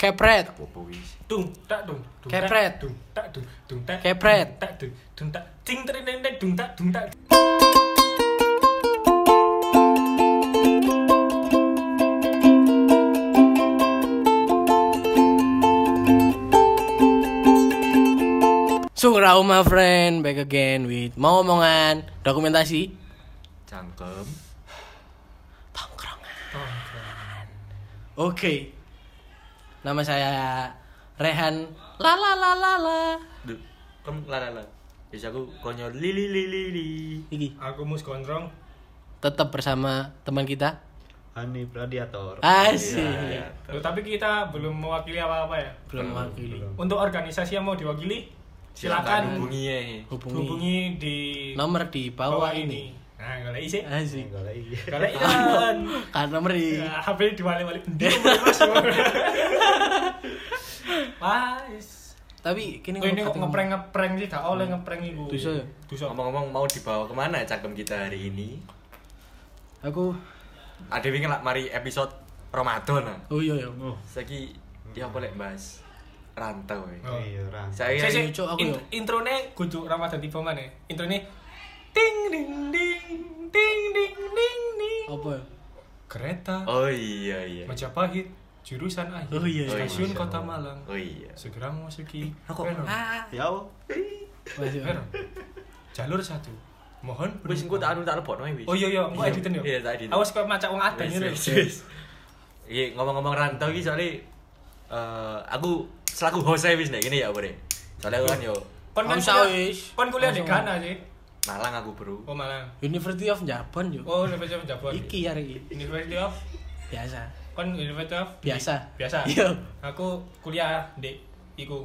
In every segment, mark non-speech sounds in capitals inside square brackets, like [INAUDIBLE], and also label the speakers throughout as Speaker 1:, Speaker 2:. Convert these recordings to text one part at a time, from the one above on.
Speaker 1: Kepret.
Speaker 2: Popo wis.
Speaker 3: Dung tak dung. dung, tak,
Speaker 1: Kepret.
Speaker 3: Dung tak dung. Dung tak.
Speaker 1: Kepret.
Speaker 3: dung, Tak dung. Dung tak. Cing terinendek dung tak dung tak.
Speaker 1: Surau my friend, back again with mau omongan, dokumentasi,
Speaker 2: Cangkem.
Speaker 1: tongkrongan.
Speaker 3: Oh,
Speaker 1: Oke. Nama saya Rehan. La la la la la.
Speaker 2: Duh, kamu lara lah. Biasa aku konyol li li li li li.
Speaker 1: Iki
Speaker 3: Aku mus gondrong.
Speaker 1: tetap bersama teman kita.
Speaker 4: Hanif Radiator.
Speaker 1: Asik.
Speaker 2: Ya,
Speaker 3: Loh, tapi kita belum mewakili apa-apa ya.
Speaker 1: Belum mewakili.
Speaker 3: Untuk organisasi yang mau diwakili,
Speaker 2: Silakan
Speaker 3: silakan
Speaker 2: hubungi ya.
Speaker 1: Hubungi.
Speaker 3: hubungi di
Speaker 1: Nomor di bawah,
Speaker 3: bawah
Speaker 1: ini. Ah.
Speaker 3: ini. Nah, kalau isi,
Speaker 1: Asik.
Speaker 4: Enggak lagi.
Speaker 3: kalau
Speaker 1: [LAUGHS]
Speaker 3: ian,
Speaker 1: Karena meri.
Speaker 3: Ya, HP diwali-wali. Dia terus. [LAUGHS] Mas.
Speaker 1: Tapi kini
Speaker 3: Ini
Speaker 1: ngomong
Speaker 3: kok
Speaker 1: kating-
Speaker 3: ngeprank ngeprank sih gak oleh ngeprank iku.
Speaker 1: Dosa ya?
Speaker 3: Dosa.
Speaker 2: Ngomong-ngomong mau dibawa kemana cangkem kita hari ini?
Speaker 1: Aku
Speaker 2: Ada wingi lah mari episode Ramadan. ah.
Speaker 1: Oh iya iya.
Speaker 2: Saiki dia boleh bahas rantau. ya.
Speaker 3: Oh.
Speaker 4: Iya, Ran.
Speaker 2: Saya
Speaker 3: Sik, sik,
Speaker 1: Ayo, Cuk, aku
Speaker 3: in-
Speaker 1: yuk.
Speaker 3: introne kudu Ramadan tiba mana? Introne ting ding ding ting ding ding ding.
Speaker 1: Apa ya?
Speaker 3: Kereta
Speaker 2: Oh iya iya.
Speaker 3: Majapahit jurusan akhir
Speaker 1: Oh iya, iya.
Speaker 3: stasiun
Speaker 2: Masya
Speaker 3: Kota
Speaker 2: Allah.
Speaker 3: Malang.
Speaker 2: Oh iya. Eh,
Speaker 3: Segera memasuki
Speaker 2: Rokok.
Speaker 3: peron.
Speaker 1: Ah.
Speaker 4: Ya, oh.
Speaker 1: Masih.
Speaker 3: Peron. Jalur satu. Mohon
Speaker 2: Wis engko tak anu tak lebokno wis.
Speaker 3: Oh iya iya, engko editan yo.
Speaker 2: Iya, tak editan.
Speaker 3: Awas kok macak wong adeng
Speaker 2: Wis,
Speaker 3: ngono.
Speaker 2: wis, wis. Iya, ngomong-ngomong rantau iki soalnya eh, aku selaku host wis nek gini ya Bre. Soalnya aku kan yo
Speaker 3: Kon kan
Speaker 1: Wis,
Speaker 3: kuliah,
Speaker 1: wis.
Speaker 3: kon kuliah di
Speaker 1: Langsung.
Speaker 3: Ghana sih.
Speaker 2: Malang aku bro.
Speaker 3: Oh Malang.
Speaker 1: University of Japan yo.
Speaker 3: Oh, Universitas Jabar.
Speaker 1: Iki hari ini.
Speaker 3: University of
Speaker 1: Biasa.
Speaker 3: kon University of
Speaker 1: Biasa.
Speaker 3: biasa.
Speaker 1: Iya.
Speaker 3: Aku kuliah di iku.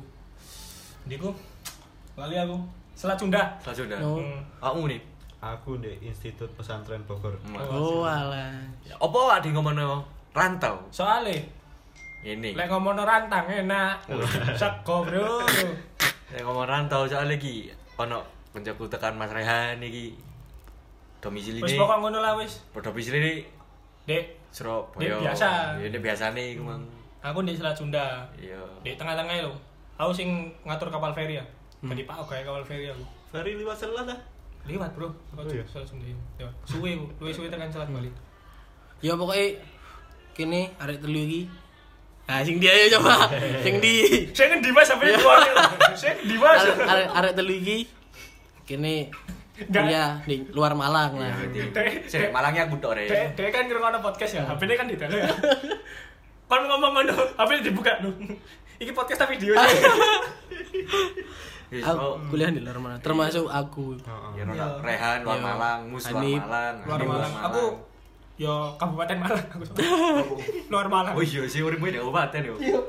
Speaker 3: Di iku lali aku. Selat Sunda.
Speaker 2: Saya sudah.
Speaker 1: No.
Speaker 3: Hmm.
Speaker 2: Kamu nih.
Speaker 4: aku di Institut Pesantren Bogor.
Speaker 1: Oh alah.
Speaker 2: Apa ada yang ngomongno rantau?
Speaker 3: Soale
Speaker 2: Ini.
Speaker 3: lek ngomongno rantang enak. Sego, Bro.
Speaker 2: Nek ngomong rantau soalnya iki ono penjaku tekan Mas Rehan iki. Domisili
Speaker 3: Wis
Speaker 2: ini.
Speaker 3: pokok ngono lah wis.
Speaker 2: Domisili ini
Speaker 3: Dek, Ini
Speaker 2: Surabaya.
Speaker 3: biasa.
Speaker 2: Ya, Ini biasa nih iku mang.
Speaker 3: aku di Selat Sunda.
Speaker 2: Iya.
Speaker 3: Di tengah-tengah lho. Aku sing ngatur kapal feri ya. Tadi Pak gawe kapal feri aku.
Speaker 4: Ferry liwat selat lah.
Speaker 3: Liwat, Bro. Aku
Speaker 4: Oh, iya?
Speaker 3: Selat Sunda. Lewat. Suwe aku, luwih suwe tekan Selat Bali.
Speaker 1: Ya pokoknya kini arek telu iki. Nah, sing dia ya coba. sing di
Speaker 3: Saya ngendi Mas sampe keluar. Saya ngendi Mas.
Speaker 1: arek arek arek telu iki kini
Speaker 3: Nggak.
Speaker 1: kuliah di luar Malang lah. [LAUGHS]
Speaker 2: Sik malangnya aku tok, Re.
Speaker 3: Dek, dek kan ngrungokno podcast ya. HP-ne kan di dalam [LAUGHS] ya. Kon ngomong ngono, HP dibuka lho. Iki podcast tapi video
Speaker 2: Wis,
Speaker 1: Aku
Speaker 2: oh.
Speaker 1: kuliah di luar Malang, termasuk aku.
Speaker 2: Ya, Ronald Rehan, luar
Speaker 1: Iya.
Speaker 2: Malang, Mus, luar
Speaker 1: Hanif.
Speaker 2: Malang,
Speaker 3: Luar
Speaker 2: Hanif,
Speaker 3: Malang. Aku yo Kabupaten Malang aku. Luar Malang.
Speaker 2: Oh iya sih, uripmu di kabupaten yo.
Speaker 1: Iya.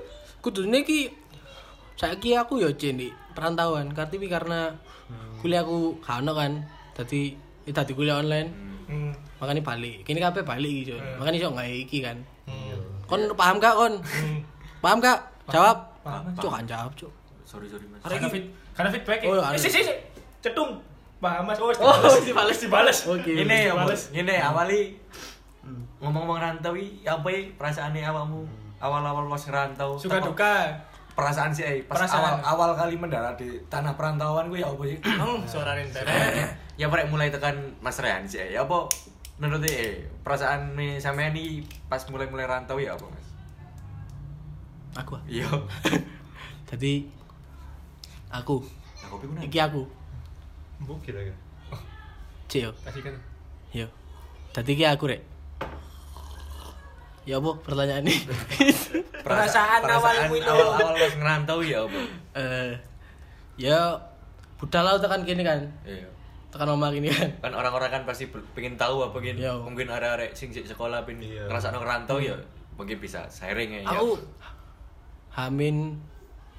Speaker 1: Kudune iki saiki aku ya Cen, di perantauan Kartiwi karena kuliahku gak ono kan. Dadi eh, dadi kuliah online.
Speaker 3: Hmm.
Speaker 1: Makanya balik. Kini kabeh balik iki, Jon. Makanya iso gak iki kan.
Speaker 3: Hmm.
Speaker 1: Kon paham gak kon?
Speaker 3: Hmm.
Speaker 1: Paham gak? Jawab.
Speaker 3: Paham,
Speaker 1: Cuk kan jawab, Cuk.
Speaker 2: Sorry sorry mas.
Speaker 3: Karena fit, karena feedback.
Speaker 1: Oh,
Speaker 3: Oh,
Speaker 1: iya, ada.
Speaker 3: eh, sih, sih, sih. Cetung. Paham Mas. Oh,
Speaker 1: Oh,
Speaker 3: dibales, dibales.
Speaker 1: Oke.
Speaker 2: Ini ya
Speaker 3: Males.
Speaker 2: mas, ini awali
Speaker 3: Hmm.
Speaker 2: ngomong-ngomong rantau i, apa i perasaannya awakmu awal-awal pas
Speaker 3: Oh,
Speaker 2: ngerantau?
Speaker 3: Suka
Speaker 2: Apa
Speaker 3: duka.
Speaker 2: Perasaan sih, eh, pas
Speaker 3: Perasaan.
Speaker 2: awal-awal kali mendarat di tanah perantauan gue ya apa sih?
Speaker 3: Hmm, suara rentet.
Speaker 2: [CLEARS THROAT] ya mereka mulai tekan Mas Rehan sih, eh, ya apa? Menurut eh perasaan sama ini pas mulai-mulai rantau ya apa mas?
Speaker 1: Aku. ah.
Speaker 2: Iya.
Speaker 1: Jadi aku,
Speaker 2: Nah, kopi gue
Speaker 1: iki aku.
Speaker 4: Mbok kira-kira.
Speaker 1: Cek yo.
Speaker 3: Kasih kan.
Speaker 1: Yo. Dadi iki aku rek. Ya apa pertanyaan ini? [LAUGHS]
Speaker 3: Perasaan awalmu itu.
Speaker 2: awal-awal pas ngerantau ya apa?
Speaker 1: Eh ya budal lah tekan kini kan.
Speaker 2: Iya.
Speaker 1: Tekan omah kini kan.
Speaker 2: kan orang-orang kan pasti ber- pengen tahu apa pengen
Speaker 1: Iya.
Speaker 2: mungkin arek-arek sing sik sekolah pengen
Speaker 4: Iya.
Speaker 2: ngerasa ngerantau ya mungkin bisa sharing ya
Speaker 1: Aku hamin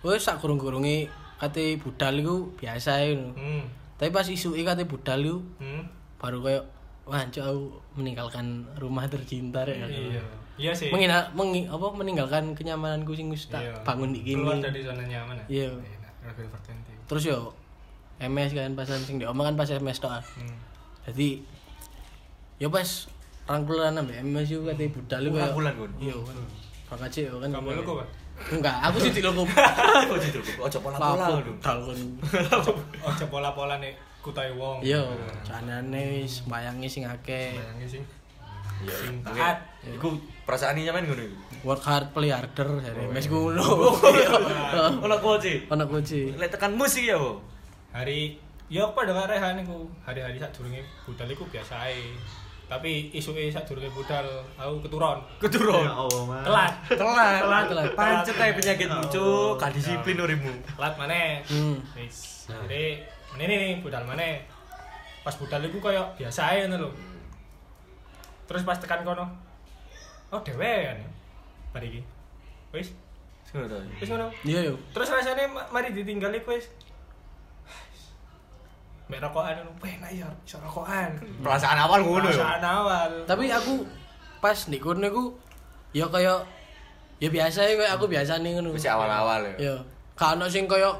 Speaker 1: wis sak gurung-gurunge kate budal iku biasa ya. ngono.
Speaker 3: Hmm.
Speaker 1: Tapi pas isuke kate budal iku
Speaker 3: Hmm.
Speaker 1: baru kayak wah cok aku meninggalkan rumah tercinta rek.
Speaker 3: Iya. Iya sih.
Speaker 1: Mengina, mengi, apa meninggalkan kenyamananku sing wis tak
Speaker 3: Iya.
Speaker 1: bangun iki.
Speaker 3: Keluar
Speaker 1: ini.
Speaker 3: dari zona nyaman ya.
Speaker 1: Iya.
Speaker 3: Enak, Rafael Vertenti.
Speaker 1: Terus yo MS kan pas sing diomong kan pas MS tok. ah.
Speaker 3: Hmm.
Speaker 1: Jadi yo pas
Speaker 3: Hmm.
Speaker 1: rangkulan ambek MS yo kate budal iku
Speaker 2: Kurang
Speaker 1: kayak,
Speaker 2: bulan Gun.
Speaker 1: Iya kan. Pak Aceh yo kan.
Speaker 3: Kamu lu kok, Pak?
Speaker 1: Enggak, aku sih
Speaker 3: [LAUGHS]
Speaker 1: dilokum.
Speaker 2: [LAUGHS] Kok judul buku? Ojo pola-pola
Speaker 1: Lapuk
Speaker 2: lho.
Speaker 1: dal kon.
Speaker 3: Ojo pola-pola nih kutai wong.
Speaker 1: Yo, janane wis mbayangi sing akeh.
Speaker 3: Bayangi sih.
Speaker 2: Iya.
Speaker 3: Sing
Speaker 2: Oke.
Speaker 3: taat.
Speaker 2: Iku perasaan ini nyaman ngono iku.
Speaker 1: Work hard play harder jare
Speaker 2: Oh,
Speaker 1: mes
Speaker 2: [LAUGHS]
Speaker 1: ngono.
Speaker 2: Ono kuwi sih.
Speaker 1: Ono kunci.
Speaker 2: Lek tekan musik ya, Bu.
Speaker 3: Hari ya pada karehan iku. Hari-hari sak durunge budal iku biasa ae. Tapi isuke sak durunge budal aku keturun.
Speaker 4: Ya
Speaker 2: Keturun.
Speaker 4: Allah, Mas.
Speaker 3: Telat.
Speaker 2: Telat.
Speaker 1: Telat, telat.
Speaker 2: Pancet ae penyakitmu,
Speaker 4: Ya
Speaker 2: Cuk.
Speaker 4: Allah.
Speaker 2: Gak disiplin urimu.
Speaker 3: Telat maneh.
Speaker 1: Hmm.
Speaker 3: Wis. Jadi menene nih budal maneh. Pas budal iku koyo biasa ae ngono lho. Terus pas tekan kono. Oh dhewean. Bar iki. Wis.
Speaker 2: Ngono to.
Speaker 3: Wis ngono.
Speaker 1: Iya yo.
Speaker 3: Terus rasanya ma- mari ditinggal iku wis. Mek rokokan ngono, enak ya iso rokokan.
Speaker 2: Perasaan awal ngono ya.
Speaker 3: Perasaan awal.
Speaker 1: Tapi aku pas di kono iku ya kaya ya biasa ya kaya aku biasa nih ngono.
Speaker 2: Hmm. Wis awal-awal ya.
Speaker 1: Ya, gak ono sing kaya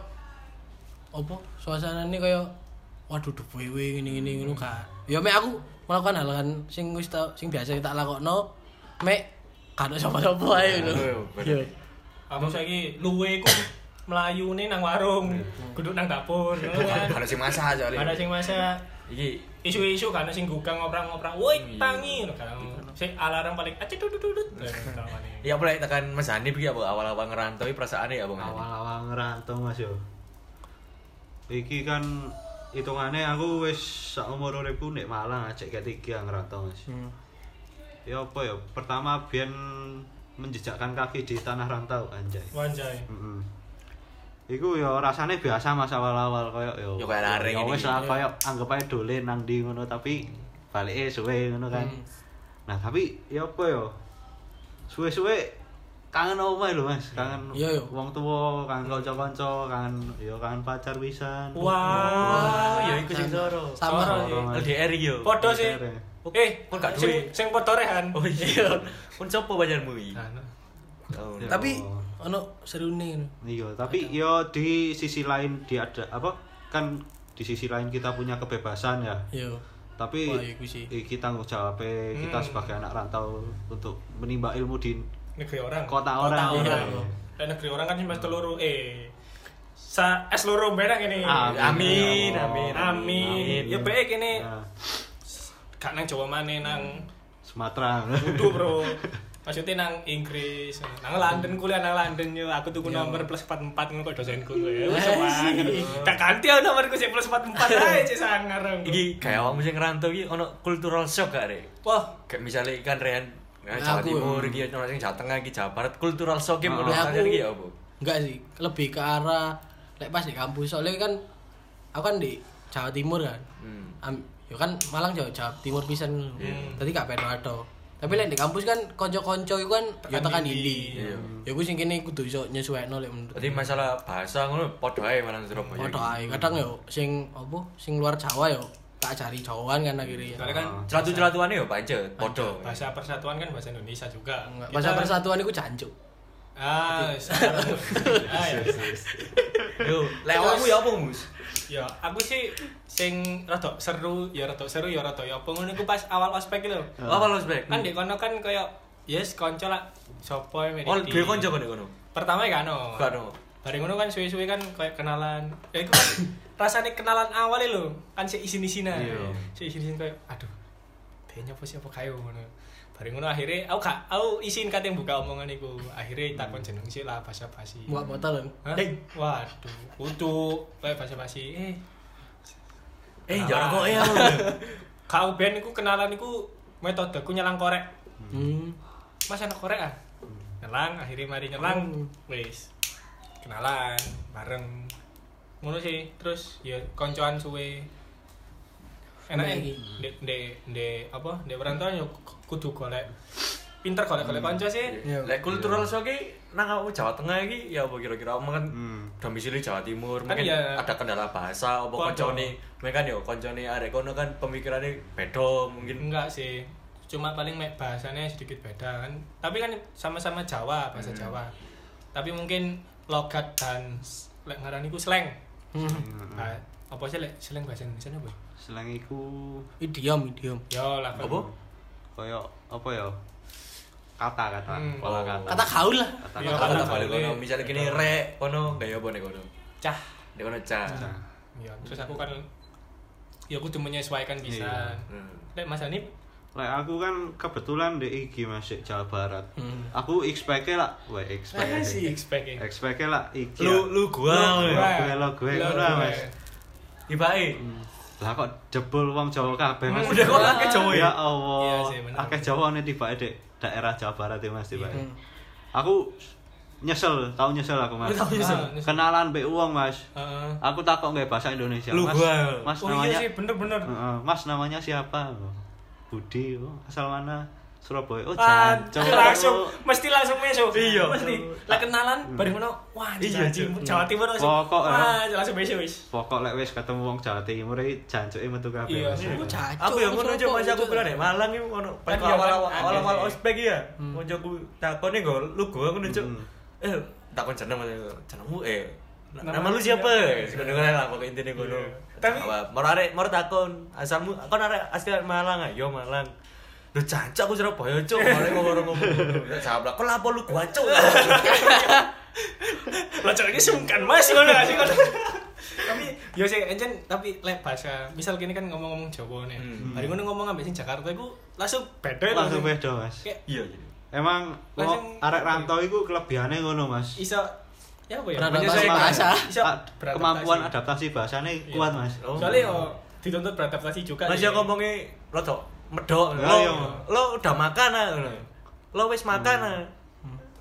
Speaker 1: apa suasanane kaya waduh dhewe ngene-ngene
Speaker 2: Hmm.
Speaker 1: ngono gak. Ya mek aku melakukan hal hal sing wis tau sing biasa tak lakokno mek gak ono sapa-sapa ae ngono.
Speaker 2: Iya, bener.
Speaker 1: Iya.
Speaker 3: Aku saiki luwe ku mlayune nang warung, duduk nang dapur, ngono kan.
Speaker 2: Ada sing masak soalnya.
Speaker 3: Ada sing masak
Speaker 2: Iki
Speaker 3: isu-isu kan sing gugang ngoprang-ngoprang, woi tangi ngono kan. Sing alarm paling acet dudududut.
Speaker 2: [LAUGHS] Ya boleh tekan Mas Hanif iki apa awal-awal ngerantau iki perasaane ya Bang. Hanif?
Speaker 4: awal-awal ngerantau mas yo iki kan hitungannya aku wis seumur uripku nek Malang aja ketiga ngerantau mas ya apa ya pertama biar menjejakkan kaki di tanah rantau anjay
Speaker 3: Wanjai.
Speaker 4: Mm-mm. Mm-hmm. Iku ya rasanya biasa mas awal-awal koyo yo.
Speaker 2: Ya kayak laring
Speaker 4: Ya
Speaker 2: ini.
Speaker 4: wis lah koyo anggap aja dolen nang ndi ngono tapi balike suwe ngono kan.
Speaker 2: Mm.
Speaker 4: Nah, tapi ya apa ya? Suwe-suwe kangen omahe lho Mas, kangen
Speaker 1: Iya, iya.
Speaker 4: wong tua, kangen kanca-kanca, kangen ya kangen pacar wisan.
Speaker 3: Wah,
Speaker 2: ya iku sing loro.
Speaker 1: Sama.
Speaker 3: Loro, iya.
Speaker 4: Sama.
Speaker 2: LDR iki yo.
Speaker 3: Podo sih. Eh,
Speaker 2: Kok gak
Speaker 3: sing-
Speaker 2: duwe?
Speaker 3: Sing podo rehan.
Speaker 2: Oh iya. Pun sopo pacarmu iki?
Speaker 3: Nah,
Speaker 2: Oh,
Speaker 4: Ya.
Speaker 1: Tapi ono serune ngono.
Speaker 4: Iya, tapi yo di sisi lain dia ada apa? Kan di sisi lain kita punya kebebasan ya.
Speaker 1: Iya.
Speaker 4: tapi
Speaker 1: Wah, iku sih.
Speaker 4: iki tanggung jawabnya kita
Speaker 3: Hmm.
Speaker 4: sebagai anak rantau untuk menimba ilmu di
Speaker 3: negeri orang
Speaker 4: kota orang,
Speaker 1: orang.
Speaker 4: Iya.
Speaker 3: dan negeri orang kan cuma teluru eh sa es loro benak ini
Speaker 4: Amin.
Speaker 2: Amin, amin,
Speaker 3: Eh, amin ya baik ini
Speaker 4: Nah,
Speaker 3: gak nang Jawa mana nang
Speaker 4: Sumatera
Speaker 3: Kudu
Speaker 4: [LAUGHS]
Speaker 3: bro maksudnya nang Inggris nang London kuliah nang London yo aku tuku nomor plus 44 ngono kok dosenku ya wis
Speaker 1: Eh,
Speaker 3: banget
Speaker 1: sih.
Speaker 3: gak ganti aku nomorku sik plus 44 ae cek sangar aku.
Speaker 2: Iki kayak awakmu sing ngerantau iki ono cultural shock gak, Rek?
Speaker 3: wah
Speaker 2: Kayak misalnya ikan Rehan Nah, eh, Jawa
Speaker 1: Aku,
Speaker 2: Timur
Speaker 1: hmm.
Speaker 2: iki ono sing Jawa Tengah iki Jawa Barat cultural shock
Speaker 4: Oh.
Speaker 2: ngono
Speaker 1: Nah,
Speaker 2: kalian
Speaker 1: aku-
Speaker 2: iki ya apa?
Speaker 1: Enggak sih, lebih ke arah lek pas di kampus soalnya kan aku kan di Jawa Timur kan.
Speaker 2: Hmm.
Speaker 1: Am, yo kan Malang Jawa, Jawa Timur pisan.
Speaker 2: Iya.
Speaker 1: Tadi gak pedo ado. Tapi lek di kampus kan kanca-kanca iku kan yo
Speaker 3: Tekan
Speaker 1: tekan
Speaker 3: ndi.
Speaker 1: ndi.
Speaker 2: Iya.
Speaker 1: Ya aku sing kene kudu iso nyesuaikno lek menurut.
Speaker 2: Berarti masalah bahasa ngono padha ae malang Surabaya.
Speaker 1: Padha
Speaker 2: iki.
Speaker 1: ae kadang yo sing apa sing luar Jawa yo tak ajari Jawaan kan akhirnya.
Speaker 3: soalnya kan
Speaker 2: Ah. Celatu-celatuane yo pancet, padha.
Speaker 3: bahasa persatuan kan bahasa Indonesia juga
Speaker 1: Enggak,
Speaker 3: Kita-
Speaker 1: Bahasa persatuan iku jancuk.
Speaker 3: ah sekarang. Ah, ya.
Speaker 2: Yo, lek awakmu ya apa, Mus?
Speaker 3: Ya, aku sih sing rada seru, ya rada seru ya rada ya apa ngono iku pas awal ospek iki lho.
Speaker 2: Apa lo spek?
Speaker 3: Kan di kono kan koyo yes kanca lah sapa yang
Speaker 2: Oh,
Speaker 3: meriti.
Speaker 2: duwe kanca kono kono.
Speaker 3: Pertama ya
Speaker 1: Oh.
Speaker 3: ono.
Speaker 2: Gak ono.
Speaker 3: Bareng ngono kan suwe-suwe kan koyo kenalan. Ya iku kan [COUGHS] rasane kenalan awal lho, kan sik isin-isinan.
Speaker 4: Iya.
Speaker 3: Sik isin-isin koyo aduh. Dene apa siapa kayo ngono. Bareng ngono akhirnya aku gak aku isin kate buka omongan iku. Akhirnya takon jeneng sih lah basa-basi.
Speaker 1: Muak botol kan.
Speaker 3: Hah? Waduh, kutu kayak basa-basi. Eh,
Speaker 2: Eh, jarang kok ya.
Speaker 3: Kau band iku kenalan iku metodeku nyelang korek.
Speaker 1: Hmm.
Speaker 3: Mas anak korek ah. Nyelang akhirnya mari nyelang. Wis. Kenalan bareng. Ngono sih. Terus ya koncoan suwe. Enak ya.
Speaker 1: Enak iki.
Speaker 3: Ndek ndek ndek apa? Ndek perantauan yo kudu golek pinter golek-golek kanca sih.
Speaker 1: Iya.
Speaker 2: Lek kultural shock iki nang awakmu Jawa Tengah iki ya apa kira-kira awakmu kan
Speaker 4: Hmm.
Speaker 2: domisili Jawa Timur
Speaker 3: Kan
Speaker 2: mungkin
Speaker 3: ya-
Speaker 2: ada kendala bahasa apa
Speaker 3: Kanca.
Speaker 2: koncone mereka kan yo koncone arek kono kan pemikirannya beda mungkin
Speaker 3: Enggak sih. Cuma paling me- bahasanya sedikit beda kan. Tapi kan sama-sama Jawa, bahasa Jawa. Tapi mungkin logat dan s- lek ngarani ku slang.
Speaker 1: Hmm.
Speaker 3: Nah, apa sih lek slang bahasa Indonesia apa?
Speaker 4: Selain iku
Speaker 1: Idiom, idiom.
Speaker 4: Hmm.
Speaker 3: Ya lah.
Speaker 2: apa
Speaker 4: koyo apa ya? kata-kata,
Speaker 3: Hmm.
Speaker 2: Oh.
Speaker 4: pola kata.
Speaker 1: Kata gaul lah.
Speaker 3: Iya,
Speaker 2: Kalau
Speaker 3: kata
Speaker 2: tak balik
Speaker 3: balik.
Speaker 2: kono, misalnya gini rek, kono gaya apa nih kono?
Speaker 3: cah
Speaker 2: Nek kono cah.
Speaker 4: Nah,
Speaker 3: ya terus aku kan ya aku cuma menyesuaikan bisa
Speaker 4: Iya.
Speaker 2: Hmm.
Speaker 3: Lek Mas Hanif
Speaker 4: Like aku kan kebetulan di IG masih Jawa Barat.
Speaker 1: Hmm.
Speaker 4: Aku expect lah, wah expect.
Speaker 3: expect ya.
Speaker 4: Expect lah IG.
Speaker 2: Lu lu gua. weh.
Speaker 4: Lu gua. lo gue,
Speaker 3: Lo
Speaker 4: ngono,
Speaker 3: gue.
Speaker 4: Mas.
Speaker 2: Ibae.
Speaker 4: Hmm. Lah kok jebol wong Jawa kabeh Mas.
Speaker 2: Udah kok akeh Jawa ya?
Speaker 4: Ya
Speaker 3: Iya
Speaker 4: Allah.
Speaker 3: sih, bener.
Speaker 4: Akeh Jawa nih tiba di daerah Jawa Barat ya Mas tiba.
Speaker 1: Hmm.
Speaker 4: Aku nyesel, tau nyesel aku Mas.
Speaker 2: Lu tau nyesel?
Speaker 3: Ah, nyesel.
Speaker 4: Kenalan mbek wong Mas.
Speaker 3: Heeh.
Speaker 4: Aku takok nggak bahasa Indonesia.
Speaker 2: Lu
Speaker 4: mas,
Speaker 2: gua.
Speaker 4: Mas
Speaker 3: Oh
Speaker 4: namanya. Hmm,
Speaker 3: iya sih bener-bener.
Speaker 4: Heeh, mas namanya siapa? Budi. Oh, asal mana? Surabaya. Oh,
Speaker 3: Ah,
Speaker 4: Jancok.
Speaker 3: langsung mesti langsung meso.
Speaker 2: Iya.
Speaker 3: Mesti lah kenalan bareng ngono. Wah, Jawa
Speaker 2: Iya,
Speaker 3: Timur- Jawa Timur langsung.
Speaker 4: Hmm. Pokok,
Speaker 3: Wah, langsung meso wis.
Speaker 4: Pokok lek wis ketemu wong Jawa Timur iki jancuke metu kabeh.
Speaker 3: Iya,
Speaker 4: Mas.
Speaker 3: iya.
Speaker 1: Aku cacok.
Speaker 2: Aku yang ngono
Speaker 1: sopo,
Speaker 2: aja mas aku
Speaker 1: cocok.
Speaker 2: bilang deh Malang itu ngono pas
Speaker 3: Kan iya, kan?
Speaker 2: awal awal
Speaker 3: Ada
Speaker 2: awal awal
Speaker 3: sih.
Speaker 2: ospek ya
Speaker 3: Hmm.
Speaker 2: ngono aku takon nih gol lu gua ngono cuk
Speaker 4: Hmm.
Speaker 2: eh takon jeneng mas jenengmu eh na-
Speaker 3: Nama
Speaker 2: nama
Speaker 3: lu
Speaker 2: lu siapa Eh,
Speaker 3: siapa?
Speaker 2: sudah dengar lah pokok intinya ngono
Speaker 3: Iya.
Speaker 2: tapi
Speaker 3: Tapi-
Speaker 2: mau arek mau takon asalmu aku arek asli arek Malang ayo Malang lu cancok aku Surabaya
Speaker 3: [LAUGHS]
Speaker 2: cuk mari ngomong ngomong jawab lah kok lapo lu gua cuk
Speaker 3: Lah cewek ini sungkan Mas ngono gak sih ngono. Tapi yo sih encen tapi lek bahasa misal gini kan ngomong-ngomong Jawa nih.
Speaker 2: Hmm.
Speaker 3: Bareng ngono ngomong ambek sing Jakarta iku langsung beda ya,
Speaker 4: Langsung beda, Mas.
Speaker 3: Kayak
Speaker 2: iya iya.
Speaker 4: Emang
Speaker 3: Langsung-
Speaker 4: wong arek rantau iku kelebihane ngono, Mas.
Speaker 3: iso ya apa ya?
Speaker 1: Beradaptasi
Speaker 3: menyesuaikan.
Speaker 1: bahasa.
Speaker 3: Iso
Speaker 4: A-
Speaker 3: Ah, beradaptasi.
Speaker 4: Ah, kemampuan adaptasi bahasane
Speaker 3: Iya.
Speaker 4: kuat, Mas. Hmm.
Speaker 2: Oh.
Speaker 3: Soalnya yo dituntut beradaptasi juga. ya.
Speaker 2: Mas
Speaker 3: sih.
Speaker 2: yang ngomongnya rodok medok
Speaker 4: Ya,
Speaker 2: lo
Speaker 4: iya.
Speaker 2: lo udah makan ah ngono. lo wis makan ah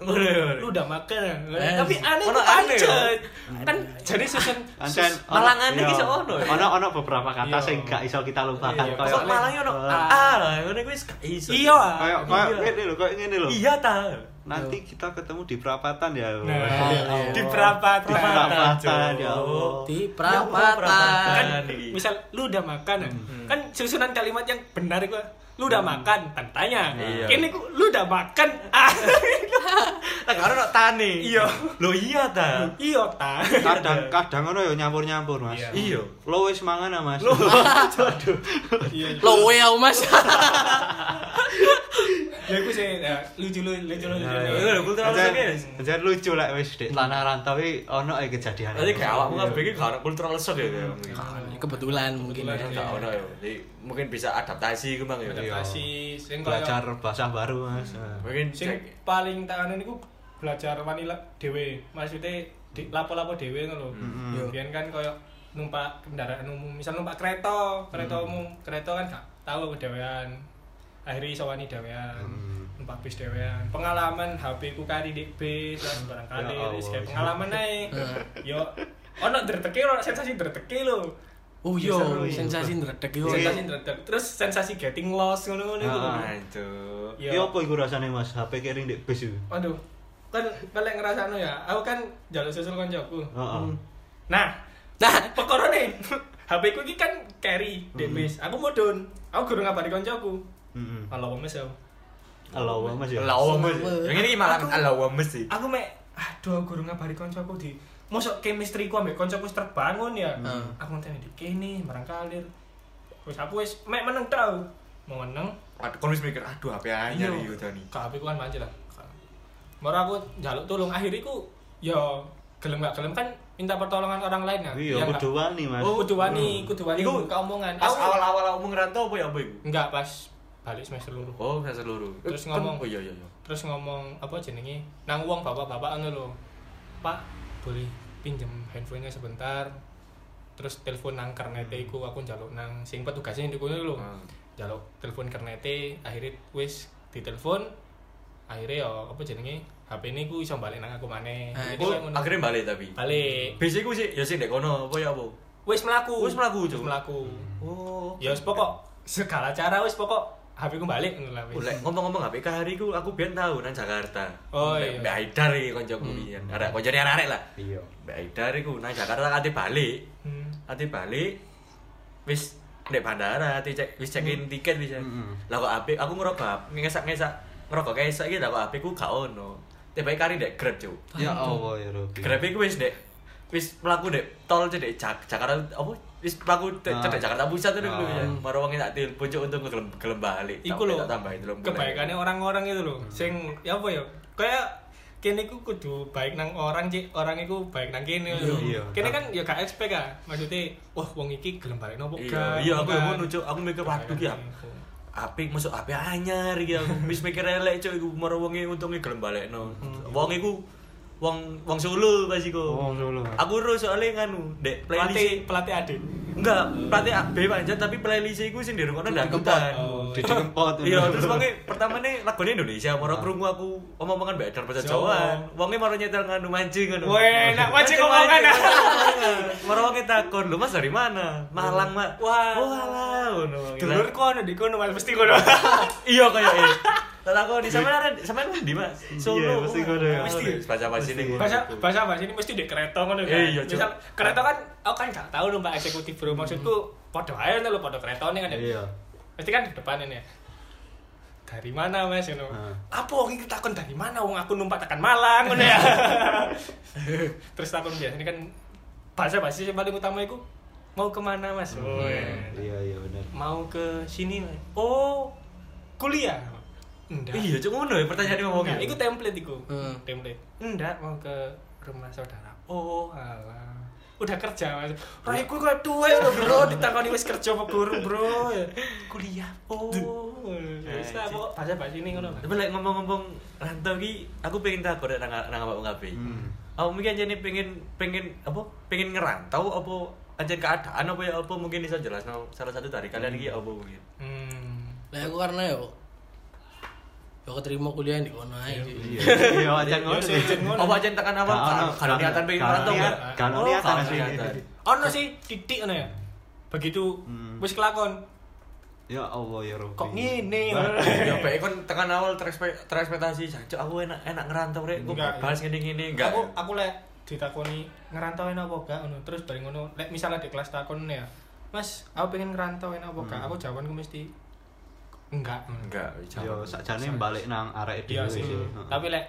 Speaker 2: Ngono, ngono.
Speaker 3: Hmm. lu udah makan ya?
Speaker 1: Eh,
Speaker 3: tapi aneh
Speaker 2: ono
Speaker 3: kok
Speaker 2: aneh ya?
Speaker 3: pancet. kan jadi susun
Speaker 4: Ancen
Speaker 3: sus-
Speaker 2: Malangan
Speaker 4: ono-
Speaker 2: iki
Speaker 4: iya.
Speaker 2: iso ono ya?
Speaker 4: Ono ono beberapa
Speaker 3: Iya.
Speaker 4: kata sing gak iso kita lupakan
Speaker 3: Iya,
Speaker 4: koyo
Speaker 2: Kok malah yo
Speaker 4: Ah.
Speaker 2: ah lah, ngono kuwi wis gak iso.
Speaker 3: iya ah.
Speaker 4: koyo koyo ngene lho, koyo ngene lho.
Speaker 2: Iya ta.
Speaker 4: Nanti kita ketemu di perapatan ya.
Speaker 3: nah,
Speaker 2: Oh.
Speaker 1: Allah.
Speaker 3: di perapatan
Speaker 4: Di perapatan
Speaker 2: Cuk.
Speaker 4: ya. Allah.
Speaker 1: Di
Speaker 2: Ya Allah,
Speaker 1: perapatan.
Speaker 3: kan
Speaker 2: iki.
Speaker 3: misal lu udah makan ya? kan susunan kalimat yang benar gua lu udah makan tantanya
Speaker 2: Iya.
Speaker 3: ini ku lu udah makan ah [LAUGHS]
Speaker 2: Tak karo nok tane.
Speaker 3: Iya.
Speaker 2: Lo iya ta.
Speaker 3: iya ta
Speaker 4: kadang kadang ono yo nyampur-nyampur, Mas.
Speaker 3: Iya.
Speaker 2: Iya.
Speaker 4: Lo wis mangan ah, [LAUGHS] Mas.
Speaker 1: Lowe aku mas.
Speaker 3: [LAUGHS] ya aku sih ya, lucu lu- lucu lu- lucu
Speaker 4: Nah,
Speaker 3: lu.
Speaker 2: Itu lho, kultur apa
Speaker 4: Jan-
Speaker 2: sih, Guys?
Speaker 4: Jan lucu lah wis di tanah rantau iki ono ae kejadian.
Speaker 2: Tadi kayak awakmu
Speaker 4: Iya.
Speaker 2: kabeh iki gak ono kultural shock ya. kayak mungkin.
Speaker 1: Iya. Kebetulan mungkin. ya.
Speaker 2: Gak ono ya. Jadi mungkin bisa adaptasi ku mang ya.
Speaker 3: Iya. adaptasi sing kaya-
Speaker 4: belajar bahasa baru, Mas.
Speaker 2: Mungkin
Speaker 3: sing
Speaker 2: cek
Speaker 3: paling tak anu niku belajar wanila dhewe. Maksudnya di lapo-lapo dhewe ngono lho.
Speaker 4: Mm-hmm.
Speaker 1: Yo.
Speaker 3: Biyen kan koyo numpak kendaraan umum, misal numpak kereta, kereta
Speaker 4: Mm-hmm.
Speaker 3: umum, kereta kan gak tahu dhewean. Akhirnya iso wani dhewean.
Speaker 4: Hmm.
Speaker 3: Numpak bis dhewean. Pengalaman HP ku kari di bis lah barangkali
Speaker 4: Ya Allah.
Speaker 3: wis kayak pengalaman ae. Yo ono dreteke ono sensasi dreteke lho.
Speaker 1: Oh yo,
Speaker 4: Seru, iya.
Speaker 1: sensasi ndredeg yo.
Speaker 4: Iya.
Speaker 3: Sensasi dretek. Terus sensasi getting lost ngono-ngono iku lho.
Speaker 4: Ah.
Speaker 2: Aduh.
Speaker 4: Iya opo iku rasane, Mas? HP kering di bis iku.
Speaker 3: Waduh, kan kalian ngerasa ya, aku kan jalur susul koncoku.
Speaker 4: Heeh.
Speaker 3: Nah,
Speaker 1: Nah,
Speaker 3: perkara nih, [LAUGHS] HP ku ini kan carry di bis. Aku mudun, aku guru ngabari koncoku.
Speaker 4: Heeh.
Speaker 3: Kalau mes ya.
Speaker 4: Halo, Mas. ya?
Speaker 2: Lawames. Yang ini malah
Speaker 3: Aku-
Speaker 2: lawames sih.
Speaker 3: Aku mek, aduh aku guru ngabari koncoku di Mosok chemistry ku ambek koncoku wis terbangun ya.
Speaker 1: Hmm.
Speaker 3: Aku ngenteni di kene, marang kalir. Wis aku wis mek meneng tau. Mau meneng,
Speaker 2: Aduh, kon wis mikir aduh HP
Speaker 3: Iya.
Speaker 2: anyar iki tani.
Speaker 3: Kak HP ku kan manja lah. Baru aku jaluk tolong akhirnya ku ya gelem gak gelem kan minta pertolongan orang lain ya.
Speaker 4: Iya,
Speaker 3: Yang
Speaker 4: kudu
Speaker 3: gak-
Speaker 4: wani, Mas.
Speaker 3: Oh, kudu wani, kudu wani
Speaker 2: Hmm. Iku
Speaker 3: buka omongan.
Speaker 2: Pas
Speaker 3: Aku-
Speaker 2: awal-awal aku ngerantau apa ya apa iku?
Speaker 3: enggak pas balik semester loro.
Speaker 2: Oh, saya seluruh.
Speaker 3: Terus
Speaker 2: Eh,
Speaker 3: ngomong.
Speaker 2: kan- Oh iya iya iya.
Speaker 3: Terus ngomong apa jenenge? Nang uang bapak-bapak anu lho. Pak, boleh pinjem handphonenya sebentar. Terus telepon nang kernete iku aku njaluk nang sing petugasnya di kono lho.
Speaker 2: Hmm.
Speaker 3: jaluk telepon kernete akhirnya wis ditelepon akhirnya ya apa jenenge HP ini ku iso balik nang aku maneh
Speaker 1: Ah,
Speaker 3: Jadi
Speaker 2: Oh,
Speaker 3: saya ngono.
Speaker 2: akhirnya balik tapi.
Speaker 3: balik
Speaker 2: Biasanya gue sih, ya sih dek kono apa ya apa?
Speaker 3: wis melaku
Speaker 2: Wis melaku,
Speaker 3: wis
Speaker 2: Cuk.
Speaker 3: melaku
Speaker 2: Oh.
Speaker 3: ya wis pokok segala cara wis pokok HP ku balik ngono lah wis
Speaker 2: Boleh ngomong-ngomong HP hari ku aku biyen tahu nang Jakarta.
Speaker 3: Oh,
Speaker 2: Mbak-
Speaker 3: iya.
Speaker 2: Mbak Aidar iki kancaku iki. Arek koncone arek lah.
Speaker 4: Iya.
Speaker 2: Mbak Aidar iku nang Jakarta ate balik.
Speaker 3: Hmm.
Speaker 2: Ate balik wis ndek bandara ate cek wis cekin tiket wis. ya.
Speaker 4: Hmm.
Speaker 2: Lah kok HP aku ngerokok ngesak-ngesak ngerokok kayak iki lah kok HP ku gak ono. Tiba-tiba kari ndek Grab, Cuk.
Speaker 4: Ya Allah ya Robi.
Speaker 2: Grab iku wis ndek wis mlaku dek tol cedek Jak Jakarta apa wis mlaku dek-
Speaker 4: Ah.
Speaker 2: cedek Jakarta Pusat itu
Speaker 4: Ah.
Speaker 2: lho ya. Baru wong tak telepon cuk untuk gelem gelem bali.
Speaker 3: Iku lho
Speaker 2: tambahin lho.
Speaker 3: kebaikannya orang-orang itu lho.
Speaker 2: Hmm.
Speaker 3: Sing ya apa ya? Kayak kene iku kudu baik nang orang cik, orang iku baik nang kene lho.
Speaker 4: Iya.
Speaker 3: Kene kan ya gak expect ah. Maksudnya, wah wong iki gelem balik nopo
Speaker 2: Iya, iya aku yang ngono cuk, aku mikir waduh ki aku. Apik masuk api anyar iki aku. Wis mikir elek cuk iku maro wonge untunge gelem balekno. Wong iku wong wong Solo pas iku.
Speaker 4: Wong Solo.
Speaker 2: Aku ro soalnya nganu dek
Speaker 3: Pelatih
Speaker 2: playlist
Speaker 3: pelatih adik.
Speaker 2: enggak pelatih AB panjat tapi playlist iku sing dirungokno dangdutan.
Speaker 3: Oh.
Speaker 4: Di dikempot.
Speaker 2: Iya, terus wonge pertama nih lagunya Indonesia, moro krungu aku omong-omongan mbak Edar bahasa
Speaker 3: Ah. Jawa.
Speaker 2: Jawa. Wonge moro nyetel nganu mancing ngono.
Speaker 3: Weh,
Speaker 2: [LAUGHS]
Speaker 3: nak mancing omongan, ah.
Speaker 2: Moro wonge takon, "Lu Mas dari mana?" Malang, Mak.
Speaker 3: Wah.
Speaker 2: oh alah ngono.
Speaker 3: Dulur kono di kono mas mesti kono. [LAUGHS]
Speaker 2: Iya kayak iya. Lah aku di sama ada sama di Mas. Solo.
Speaker 4: Iya, mesti kono ya.
Speaker 2: Mesti bahasa bahasa ini.
Speaker 3: bahasa bahasa bahasa ini mesti di kereta ngono kan.
Speaker 2: Eh, iya, Cuk.
Speaker 3: Misal kereta kan aku kan gak tahu lho Mbak eksekutif bro maksudku podo ae lho podo kereta kan ya.
Speaker 4: Iya.
Speaker 3: Pasti kan di depan ini ya. Dari mana Mas ngono?
Speaker 4: Ah.
Speaker 3: Apa wong iki takon dari mana wong aku numpak tekan Malang ngono ya. Terus takon biasanya kan bahasa bahasa yang paling utama iku mau kemana Mas? Oh, iya.
Speaker 4: Iya, iya benar.
Speaker 3: Mau ke sini. Mas. Oh, kuliah. Enggak.
Speaker 2: Iya, cuma ngono ya pertanyaan ngomongnya.
Speaker 3: Nah, itu template iku.
Speaker 1: Hmm.
Speaker 3: Template. Enggak mau ke rumah saudara. Oh, alah. Udah kerja, Mas. Raiku kok tuwe lho, Bro. Ditakoni wis kerja apa gurung, Bro. Ya, Kuliah. Oh. Wis lah, pokok bahasa bahasa ini ngono.
Speaker 2: Tapi lek ngomong-ngomong rantau ki, aku pengen takon nang nang apa ngapain.
Speaker 4: Hmm.
Speaker 2: Aku mungkin aja nih pengen pengen apa? Pengen ngerantau apa? Aja keadaan apa ya apa mungkin bisa jelas salah satu dari kalian iki apa mungkin.
Speaker 3: Hmm.
Speaker 1: Lah aku karena ya kok. Ya keterima kuliah di kono ae. Ci.
Speaker 4: Iya, iya ajan ngono.
Speaker 3: Iya, iya, ngono.
Speaker 2: Apa aja tekan awal
Speaker 4: Gak ono,
Speaker 2: kalau
Speaker 4: gak
Speaker 2: niatan
Speaker 4: ono,
Speaker 2: pengen
Speaker 4: gak ono
Speaker 2: ngerantau
Speaker 4: niat,
Speaker 2: nggak?
Speaker 4: gak ono
Speaker 2: Oh,
Speaker 4: niatan
Speaker 2: gak ono
Speaker 4: sih.
Speaker 2: niatan.
Speaker 3: Ono sih titik ngono ya. Begitu
Speaker 4: Hmm.
Speaker 3: wis kelakon.
Speaker 4: Ya Allah ya Rabbi.
Speaker 3: Kok ngene?
Speaker 2: Ya baik kan tekan awal terespe- terekspektasi jancuk aku enak enak ngerantau rek, aku
Speaker 3: Enggak.
Speaker 2: bahas ngene-ngene enggak.
Speaker 3: Aku aku lek ditakoni ngerantauin apa gak ngono. Terus bareng ngono, lek misalnya di kelas takon ya. Mas, aku pengen ngerantauin apa gak? Aku jawabanku mesti enggak.
Speaker 2: Hmm. enggak.
Speaker 4: Yo sakjane balik nang arek
Speaker 3: Iya
Speaker 4: dhewe
Speaker 3: sih.
Speaker 4: sih.
Speaker 3: Tapi lek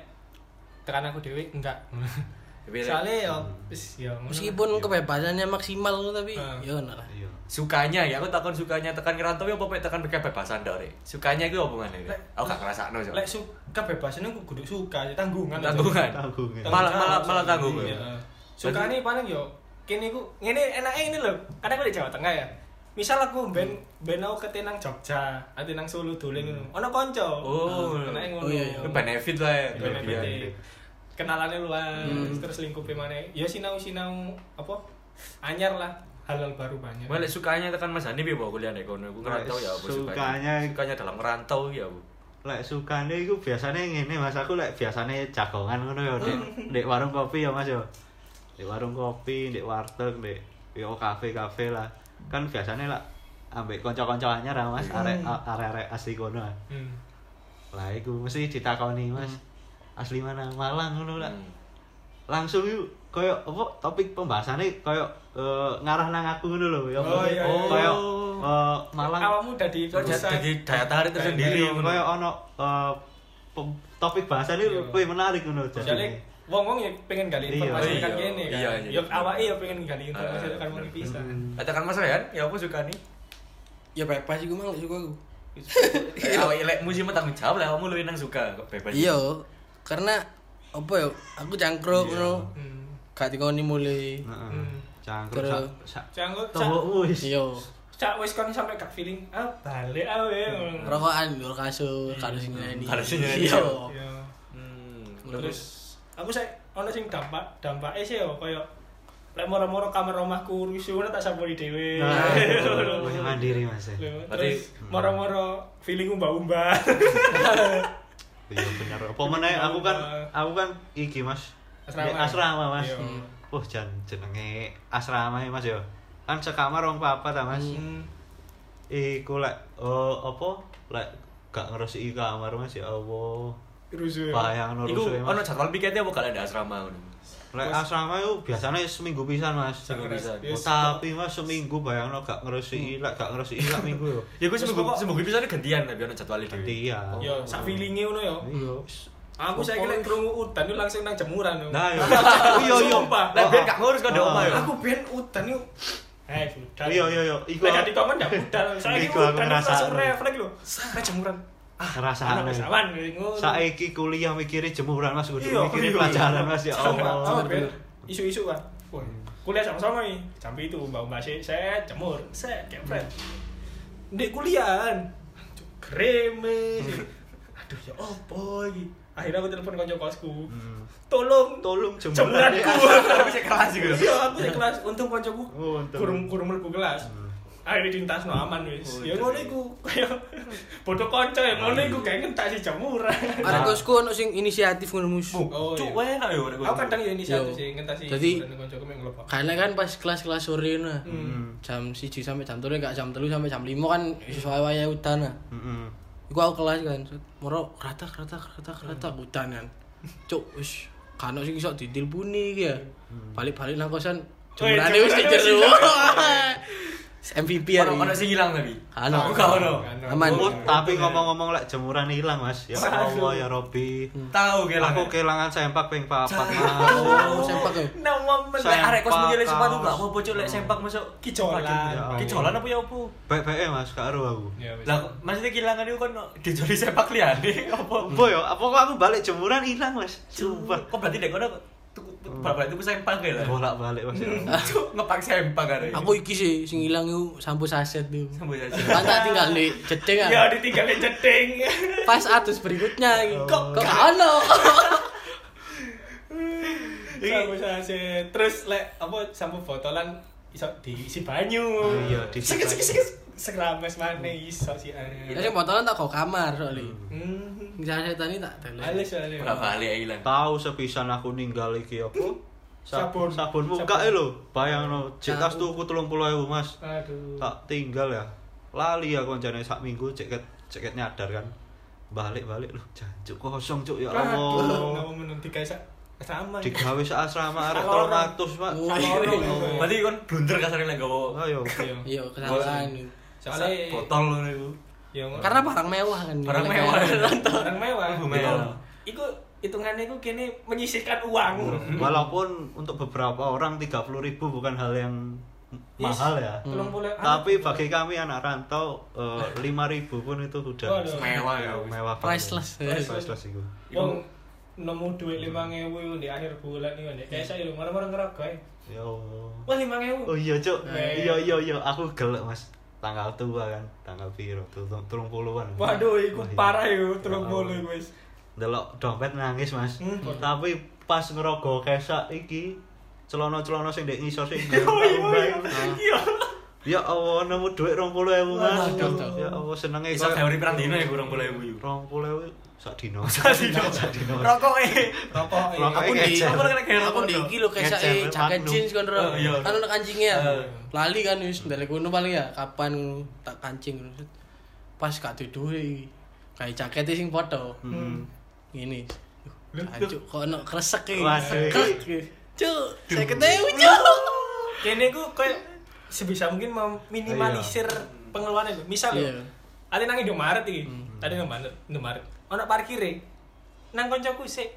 Speaker 3: tekan aku dewe enggak.
Speaker 2: Tapi lek- Hmm.
Speaker 3: Soalnya yo wis yo ngono.
Speaker 1: Meskipun kebebasannya maksimal tapi
Speaker 3: Ah.
Speaker 1: ya ngono lah.
Speaker 4: Iya.
Speaker 2: sukanya ya aku takon sukanya tekan ngerantau ya apa pengen tekan kebebasan dah rek. Sukanya iku apa maneh? Rek? Aku gak ngrasakno Cuk.
Speaker 3: lek su kebebasan aku kudu suka ya, tanggungan. aja.
Speaker 2: tanggungan
Speaker 4: Tanggung. ya.
Speaker 2: malah malah malah tanggung
Speaker 3: Iya. Suka nih paling yo kene ku ngene enake ini lho. Kan aku di Jawa Tengah ya. Misal aku ben ben aku ketenang Jogja, ati nang Solo dolen ngono. Ono kanca.
Speaker 2: Hmm. Oh.
Speaker 3: enake
Speaker 1: Oh,
Speaker 3: ngono.
Speaker 1: iya, iya.
Speaker 2: itu benefit lah ya
Speaker 3: Benefit. iya.
Speaker 2: kelebihan.
Speaker 3: kenalannya luas
Speaker 2: Hmm.
Speaker 3: terus lingkupnya mana ya sinau sinau apa anyar lah halal baru banyak
Speaker 2: Malah sukanya tekan Mas Hanif ya bawa kuliah nek kono. Aku ngerantau ya apa sukanya?
Speaker 4: Sukanya-
Speaker 2: Sukanya dalam ngerantau ya Bu.
Speaker 4: Lek sukane iku biasane ngene Mas, aku lek biasane jagongan ngono ya
Speaker 3: [LAUGHS]
Speaker 4: Dek. Ndek warung kopi ya Mas ya. Ndek warung kopi, ndek warteg, ndek yo kafe-kafe lah. Kan biasane lak ambek kanca-kanca anyar ah, Mas, arek arek-arek asli kono. ah.
Speaker 3: Hmm.
Speaker 4: Lah iku mesti ditakoni Mas.
Speaker 3: Hmm.
Speaker 4: Asli mana? Malang ngono Oh, lah.
Speaker 2: Hmm.
Speaker 4: Langsung yuk koyo apa topik pembahasannya koyo eh, ngarah nang aku ngono lho ya. apa
Speaker 3: Oh,
Speaker 4: sih?
Speaker 3: iya, Oh.
Speaker 2: iya.
Speaker 4: Koyo eh, Malang
Speaker 3: awakmu udah di
Speaker 2: Soalnya jadi daya tarik tersendiri.
Speaker 4: Iya, koyo ono eh, pem- topik bahasa ini
Speaker 3: Iya.
Speaker 4: lebih menarik ngono
Speaker 3: soalnya
Speaker 4: jadi.
Speaker 3: wong wong ya pengen gali
Speaker 4: Iya.
Speaker 3: informasi kan
Speaker 2: Iya,
Speaker 3: gini kan
Speaker 2: iya, iya.
Speaker 3: ya awake ya pengen gali informasi
Speaker 2: Ah,
Speaker 3: kan mau bisa
Speaker 2: Katakan Mas Rehan, ya apa suka nih?
Speaker 1: Ya bebas iku mang suka aku.
Speaker 2: Eh, Awak elek musim tanggung jawab lah, kamu luwih nang suka kok bebas.
Speaker 1: Iya, karena apa ya? Aku cangkruk ngono.
Speaker 3: hmm.
Speaker 1: Gak dikoni mulai.
Speaker 4: Heeh.
Speaker 3: Hmm.
Speaker 4: Cangkruk
Speaker 1: Terus-
Speaker 4: sak sak
Speaker 3: cangkut cak
Speaker 4: tembokmu wis.
Speaker 1: Iya.
Speaker 3: cak wis kon sampai gak feeling ah balik awe
Speaker 2: Hmm.
Speaker 1: Rokokan di kasur, karo sing nyanyi.
Speaker 2: Karo sing nyanyi.
Speaker 1: Iya.
Speaker 3: Ya.
Speaker 2: Hmm,
Speaker 3: terus
Speaker 2: terus
Speaker 3: aku saya ono sing dampak dampaknya sih ya koyo lek moro-moro kamar omahku rusuh tak sampuni dhewe
Speaker 4: Nah,
Speaker 3: [LAUGHS] Lho,
Speaker 4: koyo mandiri Mas. ya.
Speaker 3: terus
Speaker 2: Berarti-
Speaker 3: moro-moro feeling umba-umba
Speaker 4: Iya bener. Apa meneh aku kan aku kan iki Mas.
Speaker 3: Asrama.
Speaker 4: Di asrama Mas.
Speaker 3: Iya.
Speaker 4: Wah, jan jenenge asrama ya, Mas ya. Kan sekamar orang papat ta Mas.
Speaker 1: Hmm.
Speaker 2: Hmm.
Speaker 4: Iku lek eh, apa? Lek gak ngeresiki kamar Mas ya Allah.
Speaker 3: [LAUGHS] rusuh
Speaker 4: Bayang
Speaker 2: iku
Speaker 4: nurusi
Speaker 2: ono
Speaker 4: Mas.
Speaker 2: jadwal piketnya apa gak ada asrama ngono.
Speaker 4: Lek asrama itu biasanya seminggu pisan mas.
Speaker 2: Seminggu pisan.
Speaker 4: Oh, tapi mas seminggu bayangno gak
Speaker 3: Hmm.
Speaker 4: ngerusi lek gak ngerusi lek minggu
Speaker 3: [LAUGHS]
Speaker 4: yo.
Speaker 2: Ya gue
Speaker 3: Terus
Speaker 2: seminggu
Speaker 3: pokok-
Speaker 2: seminggu bisa gantian tapi ono jadwal
Speaker 4: Gantian.
Speaker 3: ya sak feelinge ngono ya
Speaker 4: Iya.
Speaker 3: Aku saiki lek krungu udan yo langsung nang jemuran yo. [LAUGHS]
Speaker 2: Nah, yo.
Speaker 3: Iya,
Speaker 2: Iya,
Speaker 3: iya.
Speaker 2: iya. Lah ben gak ngurus kok ndek omah ya. yo. [LAUGHS]
Speaker 3: Aku biyen udan yo Eh, budal.
Speaker 4: Iya, iya, iya. Iku-
Speaker 3: Lek gak dikongkon gak
Speaker 4: [LAUGHS]
Speaker 3: budal. Saiki
Speaker 4: Iku aku
Speaker 3: udan yo langsung
Speaker 4: ngerasakno.
Speaker 3: refleks lho. Nang jemuran. Ah,
Speaker 4: Ngerasakno.
Speaker 3: anak Sawan ngono.
Speaker 4: Saiki kuliah mikirnya jemuran Mas, kudu
Speaker 3: Iya,
Speaker 4: mikirnya
Speaker 3: iya,
Speaker 4: pelajaran
Speaker 3: iya.
Speaker 4: Mas ya
Speaker 3: Sama, sama,
Speaker 4: Allah.
Speaker 3: Ben. isu-isu kan Wah, kuliah sama-sama nih jam itu mbak mbak saya saya jemur saya
Speaker 4: Hmm.
Speaker 3: kepret di kuliahan Cuk, kreme
Speaker 4: [LAUGHS]
Speaker 3: aduh ya opo iki akhirnya aku telepon konco kosku tolong
Speaker 4: Hmm. Tolong jemuran.
Speaker 3: jemuranku
Speaker 4: [LAUGHS]
Speaker 2: Tapi sik kelas iku yo.
Speaker 3: iya aku di kelas untung koncoku
Speaker 4: Oh, untung. Hmm.
Speaker 3: kurung kurung mlebu kelas akhirnya dintas no aman wis
Speaker 4: Oh,
Speaker 3: ya
Speaker 4: untung.
Speaker 3: ngono iku kaya bodoh konco ya ngono iku kayak ngentak si jemuran
Speaker 1: Arek kosku ono sing inisiatif ngono mus.
Speaker 3: Oh,
Speaker 2: Cuk,
Speaker 3: iya.
Speaker 2: enak yo rek
Speaker 3: aku kadang ya inisiatif
Speaker 1: Yo.
Speaker 3: sih ngentasi
Speaker 1: Jadi-
Speaker 3: jemuran koncoku main ngelepok
Speaker 1: Karena kan pas kelas-kelas sore nah.
Speaker 3: Hmm.
Speaker 1: Jam 1 sampai jam 3 enggak jam 3 sampai jam 5 kan sesuai waya udan nah.
Speaker 3: Hmm.
Speaker 4: Heeh.
Speaker 1: Iku aku kelas kan, set. moro rata rata rata rata hutan kan. Cuk, wis kan sing iso ditilpuni iki ya. Balik-balik nang kosan
Speaker 3: Weh,
Speaker 1: jemurane wis
Speaker 3: jemurane wis
Speaker 1: jero.
Speaker 3: jero.
Speaker 1: [LAUGHS] MVP ya.
Speaker 2: Ono ono sing ilang tapi.
Speaker 1: Ano.
Speaker 2: Gak ono.
Speaker 1: Hmm. Aman.
Speaker 4: Oh, tapi ngomong-ngomong lek jemuran hilang Mas. Ya Allah ya Robi.
Speaker 3: Hmm.
Speaker 2: Tahu kelang.
Speaker 4: Aku kehilangan sempak ping papat
Speaker 1: Oh,
Speaker 4: Mas.
Speaker 1: [LAUGHS] sempak ya.
Speaker 2: Nah, momen lek
Speaker 4: Sempak,
Speaker 2: arek kos mikire sepatu
Speaker 4: kaos.
Speaker 2: gak apa-apa cuk lek sempak masuk
Speaker 3: Kicolan.
Speaker 4: Ya Allah.
Speaker 2: Kicolan apa ya opo?
Speaker 4: Baik-baik Mas, gak karo aku.
Speaker 3: Ya, wis.
Speaker 2: Lah maksudnya kehilangan itu kan dijoli sepak liyane [LAUGHS] apa?
Speaker 4: Apa ya? Apa kok aku balik jemuran hilang Mas?
Speaker 2: Coba.
Speaker 4: Sumpah.
Speaker 2: Kok berarti dek kono tuku berarti tuku sempak kae lah.
Speaker 4: Bolak-balik
Speaker 3: Hmm.
Speaker 4: Mas. ya Allah.
Speaker 2: [LAUGHS] Cuk, ngepak sempak arek. [LAUGHS]
Speaker 1: Aku iki sih sing ilang iku sampo saset iku.
Speaker 2: Sampai saja.
Speaker 1: Kan tak tinggal di jeding kan.
Speaker 3: Ya ditinggalin jeding.
Speaker 1: Pas atus berikutnya iki. kok
Speaker 4: Oh.
Speaker 1: kok gak ono. [LAUGHS]
Speaker 3: Sampo sase. Terus lek apa sampo botolan iso diisi banyu.
Speaker 4: Iya, diisi
Speaker 3: Sikit sikit
Speaker 4: banyu.
Speaker 3: sikit. Sekrames maneh iso sih.
Speaker 1: Ya sing botolan tak kok kamar soalnya.
Speaker 3: Hmm.
Speaker 1: Sing saset ini tak tele.
Speaker 3: Alis alis.
Speaker 2: Ora balik ya ilang.
Speaker 4: Tahu sepisan aku ninggal iki apa?
Speaker 3: Sabun.
Speaker 4: sabun muka
Speaker 3: Sabun.
Speaker 4: e lho. Bayangno, cek tas tuku 30.000 Mas.
Speaker 3: Aduh.
Speaker 4: Tak tinggal ya. Lali aku koncane sak minggu ceket ceket nyadar kan. Balik-balik lho, jancuk kosong cuk ya
Speaker 3: Aduh.
Speaker 4: Allah.
Speaker 3: Napa menunti kayak sak sama.
Speaker 4: Digawe sak asrama arek
Speaker 3: Salah orang.
Speaker 4: 300, Pak. ya
Speaker 1: Oh,
Speaker 3: Salah orang.
Speaker 2: Berarti kon blunder kasarnya lek gak apa.
Speaker 4: Ayo.
Speaker 3: Iya.
Speaker 1: Iya, kesalahan.
Speaker 3: Soalnya
Speaker 2: botol ngono iku.
Speaker 3: Ya, ngono.
Speaker 1: Karena barang mewah kan.
Speaker 2: Barang mewah.
Speaker 3: barang mewah.
Speaker 2: Barang mewah.
Speaker 3: Iku hitungannya iku kene menyisihkan
Speaker 4: Hmm.
Speaker 3: uang.
Speaker 4: Walaupun untuk beberapa orang 30.000 bukan hal yang
Speaker 3: Yes.
Speaker 4: mahal ya.
Speaker 3: Tolong boleh.
Speaker 4: Hmm. Tapi bagi kami anak rantau eh, 5.000 pun itu udah
Speaker 3: Waduh.
Speaker 2: Mewah ya. wis.
Speaker 4: mewah banget.
Speaker 1: Priceless.
Speaker 4: Priceless iku.
Speaker 3: Wong nemu duit lima ngewu di akhir bulan nih, nih kayak saya lu marah-marah ngerogoy.
Speaker 4: Ya Allah.
Speaker 3: e. Wah lima ngewu.
Speaker 4: Oh iya cuk,
Speaker 3: Nah,
Speaker 4: iya iya iya aku gelek mas. Tanggal tua kan, tanggal biru, tulung puluhan.
Speaker 3: Waduh, ikut
Speaker 4: Wah, Oh iya.
Speaker 3: parah itu terus
Speaker 4: Ya
Speaker 3: bolu
Speaker 4: Allah.
Speaker 3: guys.
Speaker 4: Delok dompet nangis mas.
Speaker 3: Hmm.
Speaker 4: Tapi pas ngerogoh kesak iki, celono-celono sing dek ngisor sing dek
Speaker 3: [LAUGHS] Oh iya
Speaker 4: tambah.
Speaker 3: iya. Iya.
Speaker 4: Ya Allah, nemu duit rong puluh ewu mas.
Speaker 1: Waduh.
Speaker 4: Ya Allah senenge
Speaker 2: Iso gawe pirang dino ya kurang boleh ibu.
Speaker 4: [LAUGHS] Rong puluh ewu sak dino. Sak dino.
Speaker 2: Rokok eh.
Speaker 3: Rokok iya.
Speaker 4: eh. Rokok.
Speaker 1: Aku
Speaker 4: eh.
Speaker 1: di
Speaker 4: Ngecek.
Speaker 1: aku kena kayak aku
Speaker 2: Ngecek.
Speaker 1: di iki lho kayak
Speaker 4: Ngecek,
Speaker 1: saya jaket
Speaker 4: Magnum.
Speaker 1: jeans kan
Speaker 2: Oh,
Speaker 1: Ro.
Speaker 2: iya.
Speaker 1: Kan ono kancingnya.
Speaker 2: Eh.
Speaker 1: Lali kan wis ndalek ngono paling ya kapan ngono, tak kancing ngono. Set. Pas gak duwe duwe iki. Kayak jakete sing padha.
Speaker 4: Hmm.
Speaker 1: Ngene. Ancuk kok ono kresek iki.
Speaker 4: Waduh.
Speaker 1: Kresek iki. Cuk, saya ketemu cuk.
Speaker 3: Kene ku kayak sebisa mungkin meminimalisir pengeluaran itu. Misal
Speaker 1: Iya.
Speaker 3: lho, ate nang Indomaret iki.
Speaker 1: Hmm.
Speaker 3: Tadi nang Maret, Indomaret. Ono parkire. Nang koncoku sik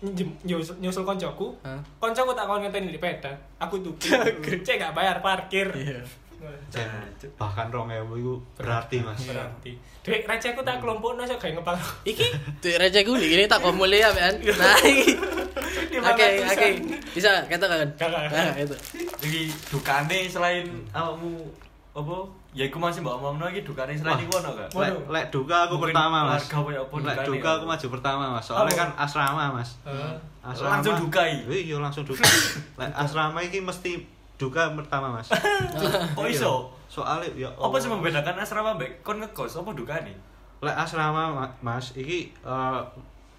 Speaker 3: Njem- nyusul, nyusul koncoku,
Speaker 1: Hah?
Speaker 3: koncoku tak kon ngenteni di peda, aku tuh
Speaker 1: [LAUGHS]
Speaker 3: cek gak bayar parkir. [LAUGHS]
Speaker 1: Iya.
Speaker 4: Jan, Bahkan rong ewu itu berarti
Speaker 1: Iya.
Speaker 4: mas.
Speaker 3: berarti duit recehku
Speaker 1: Hmm.
Speaker 3: tak kelompok nasi kayak
Speaker 1: [LAUGHS]
Speaker 3: ngepal
Speaker 1: Iki duit receku lho, ini tak kok mulai ya, kan. Nah, iki. Oke, oke. Bisa kata kan?
Speaker 3: Kakak.
Speaker 1: Nah, itu.
Speaker 2: Jadi dukane selain awakmu apa? Ya iku masih mbak omongno iki dukane selain
Speaker 4: Wah.
Speaker 2: iku ono gak?
Speaker 4: Lek,
Speaker 3: Waduh.
Speaker 4: lek duka aku
Speaker 2: Mungkin
Speaker 4: pertama mas.
Speaker 2: warga punya apa
Speaker 4: Lek
Speaker 2: dukanya
Speaker 4: duka
Speaker 2: ya?
Speaker 4: aku maju pertama mas. Soalnya
Speaker 3: Apa?
Speaker 4: kan asrama mas.
Speaker 1: [LAUGHS]
Speaker 4: Asrama.
Speaker 2: Langsung duka i?
Speaker 4: Iya langsung
Speaker 2: [LAUGHS]
Speaker 4: duka. lek asrama ini mesti duka pertama
Speaker 2: [LAUGHS]
Speaker 4: mas.
Speaker 2: Kok
Speaker 4: Iya.
Speaker 2: Oh, iso?
Speaker 4: Soalnya ya.
Speaker 2: Apa sih
Speaker 4: Allah.
Speaker 2: membedakan asrama mbek kon ngekos apa dukane?
Speaker 4: Lek asrama Ma- mas, iki eh,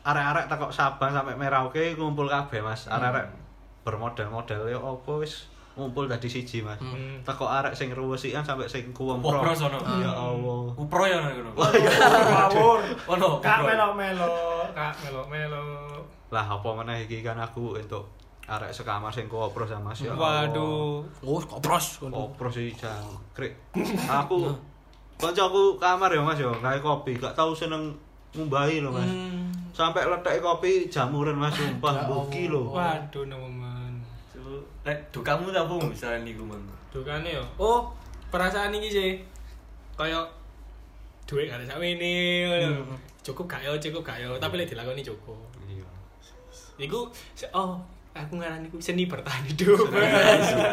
Speaker 4: arek-arek takok Sabang sampai Merauke ngumpul kabeh mas.
Speaker 2: Hmm.
Speaker 4: Arek-arek bermodel-model ya apa wis ngumpul dari siji mas.
Speaker 2: Hmm.
Speaker 4: Takok arek sing ruwesian sampai sing kuwem
Speaker 2: Kuwem pro sono.
Speaker 4: Ya Allah. iya.
Speaker 2: Kupro ya ngono ngono.
Speaker 3: ngawur
Speaker 2: Ono.
Speaker 3: kak
Speaker 2: kupro.
Speaker 3: melo melo kak melo melo
Speaker 4: lah apa meneh iki kan aku entuk arek sekamar sing kopro sama si
Speaker 3: waduh
Speaker 1: Oh, kopros.
Speaker 4: kopro sih jangkrik
Speaker 3: [LAUGHS]
Speaker 4: aku
Speaker 3: Hmm.
Speaker 4: kancaku kamar ya mas ya gawe kopi gak tau seneng ngumbahi lho mas Sampai letek kopi jamuran Mas
Speaker 1: Ya
Speaker 4: sumpah mbuki lho.
Speaker 3: Waduh, nemen.
Speaker 2: Coba, Lek, do kamu tak apa misalnya niku mang.
Speaker 3: Dukane yo. Oh, perasaan iki sih. Kayak duit gak ada sakwene ngono. Cukup gak yo, cukup gak yo. Tapi lek dilakoni cukup.
Speaker 4: Iya.
Speaker 3: Iku se- oh, aku ngarani iku seni bertahan hidup.
Speaker 2: Iya,
Speaker 3: [LAUGHS]
Speaker 4: iya.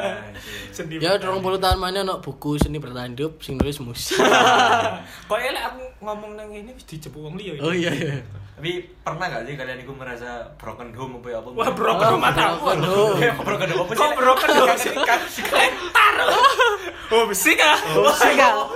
Speaker 3: seni.
Speaker 1: Ya 20 tahun mana ono buku seni bertahan hidup sing nulis mus.
Speaker 3: Kok elek aku ngomong nang ngene wis dijebuk wong liya.
Speaker 1: oh iya iya.
Speaker 2: Tapi pernah gak sih kalian niku merasa broken home apa ya apa?
Speaker 3: Wah, bro,
Speaker 1: Oh,
Speaker 3: oh, mata aku.
Speaker 1: broken home.
Speaker 2: Eh, broken home apa sih?
Speaker 3: Kok bro kan kan kelentar. Oh, besi kah?
Speaker 1: Oh, sega.
Speaker 4: Oh,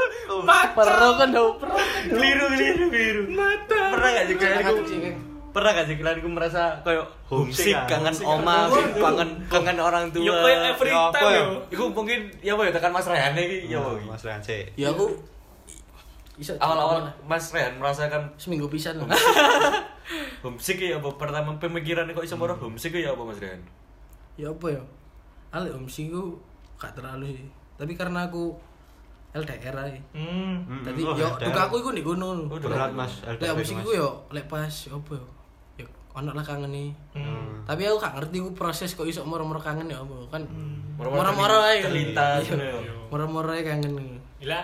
Speaker 3: Mata.
Speaker 1: Perlu kan dong, perlu.
Speaker 2: Keliru, keliru, keliru.
Speaker 3: Mata.
Speaker 2: Pernah gak sih kalian niku?
Speaker 1: Cek, cek, cek.
Speaker 2: Pernah gak sih kalian niku merasa kayak
Speaker 4: Homesick,
Speaker 2: homesick,
Speaker 4: ah.
Speaker 2: kangen
Speaker 4: Homesick,
Speaker 2: oma, kangen kangen orang tua.
Speaker 3: Yo kayak every
Speaker 4: Ya, apa
Speaker 3: time
Speaker 4: ya?
Speaker 3: yo.
Speaker 2: Iku mungkin ya apa ya tekan Mas Rehan
Speaker 3: iya,
Speaker 2: iki ya apa iki?
Speaker 4: Mas Rance.
Speaker 1: Ya aku iso
Speaker 2: Awal-awal Mas Rehan merasakan
Speaker 1: seminggu pisan loh.
Speaker 2: homesick ya apa pertama pemikiran kok iso marah homesick ya apa Mas Rehan?
Speaker 1: ya apa ya ale omsi ku gak terlalu sih tapi karena aku LDR aja
Speaker 3: Hmm.
Speaker 4: Mm,
Speaker 1: Tadi
Speaker 4: oh,
Speaker 1: yo
Speaker 4: LDR.
Speaker 1: duka aku iku ndek kono.
Speaker 2: Oh, duka.
Speaker 4: berat Mas
Speaker 1: Lek
Speaker 4: LDR
Speaker 1: musik
Speaker 4: Mas.
Speaker 1: iku yo lek pas opo yo. Ya ono lah kangen nih.
Speaker 3: Hmm.
Speaker 1: Tapi aku gak ngerti ku proses kok iso moro-moro kangen ya opo kan. Moro-moro
Speaker 2: Hmm. Moro-moro
Speaker 1: ae.
Speaker 2: terlintas,
Speaker 1: Iya.
Speaker 2: ngono ya.
Speaker 3: Yo.
Speaker 1: Moro-moro ae kangen. nih.
Speaker 3: Gila,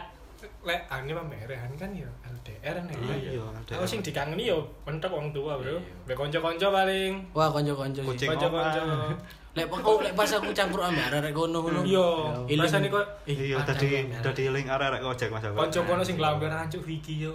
Speaker 3: lek ane pameran kan ya LDR nih.
Speaker 4: Iya, LDR.
Speaker 3: Aku sing dikangeni yo mentok wong tua, Bro.
Speaker 4: Iya.
Speaker 3: Be kanca-kanca paling.
Speaker 1: Wah, kanca-kanca sih.
Speaker 4: Kucing.
Speaker 3: Kanca-kanca.
Speaker 1: Lek aku lek pas aku campur ambek arek kono ngono.
Speaker 3: Yo,
Speaker 1: Ilang.
Speaker 3: rasane kok
Speaker 1: Eh,
Speaker 4: Iya,
Speaker 1: ah,
Speaker 4: tadi
Speaker 1: campur ambek arek.
Speaker 4: tadi link arek-arek ojek Mas. Iya. Abel.
Speaker 3: kanca kono sing lamber ancuk iki
Speaker 4: [LAUGHS]
Speaker 3: yo.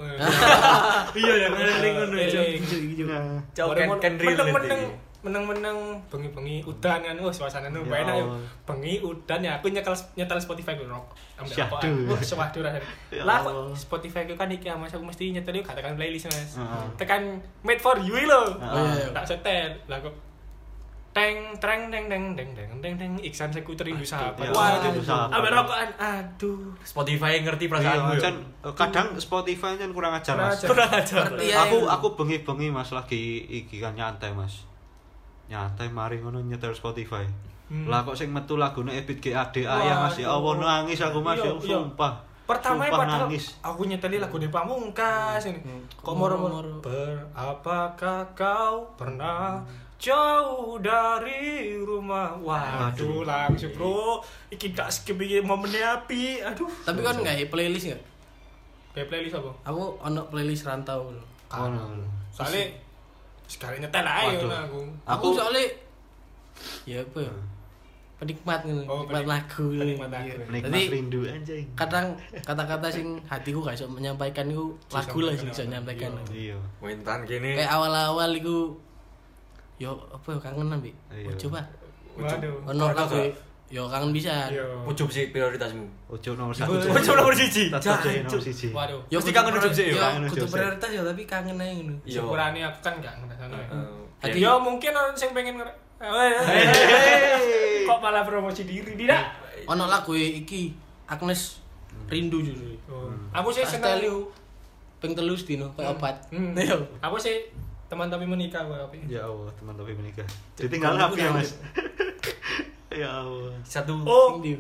Speaker 2: [LAUGHS] Iya ya ngeling ngono ya.
Speaker 3: Eling.
Speaker 4: Nah,
Speaker 2: Cok kan kan real
Speaker 3: Meneng-meneng meneng-meneng bengi-bengi udan kan wah suasana nu
Speaker 4: Ya
Speaker 3: enak yo.
Speaker 4: Allah.
Speaker 3: Bengi udan ya aku nyetel nyetel Spotify ku rock. Ambek
Speaker 4: Syahdu.
Speaker 3: apaan. Wah, syahdu rasane.
Speaker 4: Ya
Speaker 3: Lah kok
Speaker 4: Allah.
Speaker 3: Spotify ku kan iki Mas aku mesti nyetel yo gak tekan playlist Mas.
Speaker 4: Heeh.
Speaker 3: Tekan made for you lho.
Speaker 4: Oh,
Speaker 1: iya, iya.
Speaker 3: Tak setel. Lah kok teng treng teng teng teng teng teng teng Iksan sekuter rindu sahabat.
Speaker 4: iya,
Speaker 3: Wah,
Speaker 1: rindu
Speaker 3: itu
Speaker 4: sahabat.
Speaker 3: ambek rokokan. Aduh.
Speaker 2: Spotify ngerti perasaanmu
Speaker 4: Iya,
Speaker 2: ya.
Speaker 4: Chan, kadang Spotify kan kurang ajar,
Speaker 3: Kurang
Speaker 4: Mas.
Speaker 3: ajar.
Speaker 2: Kurang ajar.
Speaker 1: Ngerti
Speaker 3: Iya,
Speaker 1: ya.
Speaker 4: aku aku bengi-bengi mas lagi iki kan nyantai mas nyantai mari ngono nyetel Spotify lah kok sing metu lagune Ebit GADA ya mas ya Allah
Speaker 3: Waduh.
Speaker 4: nangis aku mas
Speaker 3: Hmm. Iya,
Speaker 4: ya
Speaker 3: iya.
Speaker 4: sumpah
Speaker 3: Pertama
Speaker 4: sumpah
Speaker 3: padahal
Speaker 4: nangis Hmm,
Speaker 3: aku nyeteli lagu di pamungkas ini. Kok
Speaker 1: Kok
Speaker 3: moro-moro.
Speaker 1: moro-moro?
Speaker 3: Ber, apakah kau pernah jauh dari rumah? Waduh, langsung bro. Iki tak skip iki momennya api. Aduh.
Speaker 1: Tapi kan enggak playlist enggak?
Speaker 3: Kayak playlist apa?
Speaker 1: Aku ono playlist rantau. lho.
Speaker 4: Ngono.
Speaker 3: Soalnya sekali nyetel aja
Speaker 4: Waduh. Iya.
Speaker 3: ngono aku.
Speaker 1: Aku
Speaker 4: Aku-
Speaker 1: soalnya ya apa ya? Penikmat ngono, penikmat
Speaker 3: Oh, penik-
Speaker 1: lagu. ngono.
Speaker 3: penikmat lagu.
Speaker 1: Iya.
Speaker 4: nikmat
Speaker 1: Jadi Kan-
Speaker 4: rindu anjing
Speaker 1: kadang kata-kata sing hatiku gak iso menyampaikan iku lagu lah sing iso
Speaker 3: Disampaikan.
Speaker 1: nyampaikan.
Speaker 4: iya
Speaker 2: Wintan kene.
Speaker 1: Kayak awal-awal iku yo apa ya kangen ambi.
Speaker 4: Iya.
Speaker 1: Coba
Speaker 3: Waduh.
Speaker 1: ono
Speaker 2: Pernah
Speaker 1: lagu e.
Speaker 2: gak?
Speaker 1: yo kangen bisa.
Speaker 3: Yo.
Speaker 2: Ucup sih prioritasmu.
Speaker 4: ojo nomor satu
Speaker 3: Ojo
Speaker 2: Ucup nomor siji.
Speaker 4: tetap jadi nomor siji
Speaker 2: Iya.
Speaker 3: Waduh.
Speaker 1: Yo
Speaker 2: Mesti
Speaker 1: kudu
Speaker 2: kangen
Speaker 1: priori-
Speaker 2: ujug sih, yo.
Speaker 1: yo,
Speaker 4: Kangen
Speaker 1: kudu
Speaker 4: ujug sih.
Speaker 1: prioritas yo tapi kangen ae ngono.
Speaker 2: Iya.
Speaker 3: Syukurane aku kan gak ngerasano. ya.
Speaker 2: Eh,
Speaker 1: Hati-
Speaker 3: Yo mungkin orang yang pengen nger- Eh, eh, eh.
Speaker 4: Hei.
Speaker 3: Kok malah promosi diri tidak?
Speaker 2: Iya.
Speaker 1: Ono lagu e iki Agnes Rindu judulnya.
Speaker 3: Oh.
Speaker 2: Hmm.
Speaker 3: Aku sih
Speaker 1: Tak
Speaker 3: seneng.
Speaker 1: setel. Ping telu sedino kayak obat.
Speaker 3: Hmm.
Speaker 1: [LAUGHS]
Speaker 2: Iya.
Speaker 1: Yo.
Speaker 3: Aku sih teman tapi menikah gue
Speaker 2: Hmm.
Speaker 3: tapi.
Speaker 4: ya Allah teman tapi menikah ditinggal apa ya mas [LAUGHS] ya Allah
Speaker 2: Satu.
Speaker 3: Oh,
Speaker 1: Rindu.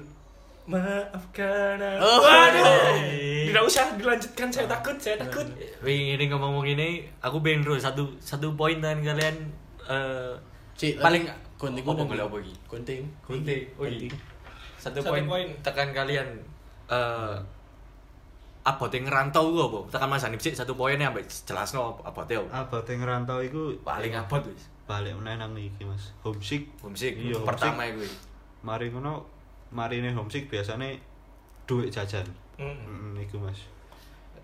Speaker 3: maafkan aku.
Speaker 1: Oh.
Speaker 3: Waduh.
Speaker 2: Iya.
Speaker 3: Tidak usah dilanjutkan, saya takut, saya takut.
Speaker 2: Wih, ini ngomong ini aku pengen terus satu satu poin kan kalian eh
Speaker 1: Cik,
Speaker 2: paling
Speaker 1: gunting
Speaker 2: apa boleh apa iki?
Speaker 1: Gunting.
Speaker 2: Kunti,
Speaker 1: Gunting.
Speaker 2: Satu,
Speaker 3: Satu
Speaker 2: poin
Speaker 3: poin.
Speaker 2: tekan kalian eh abote ngerantau ku apa? Tekan Mas Hanif sih satu poinnya ambek jelasno abote apa.
Speaker 4: abad yang ngerantau itu
Speaker 2: Paling abot wis.
Speaker 4: balik meneh nang iki mas homesick
Speaker 2: Homesick
Speaker 4: Iya,
Speaker 2: pertama iku.
Speaker 4: mari ngono mari ini homesick biasanya duit jajan
Speaker 2: Iya.
Speaker 3: Mm.
Speaker 4: mm iku mas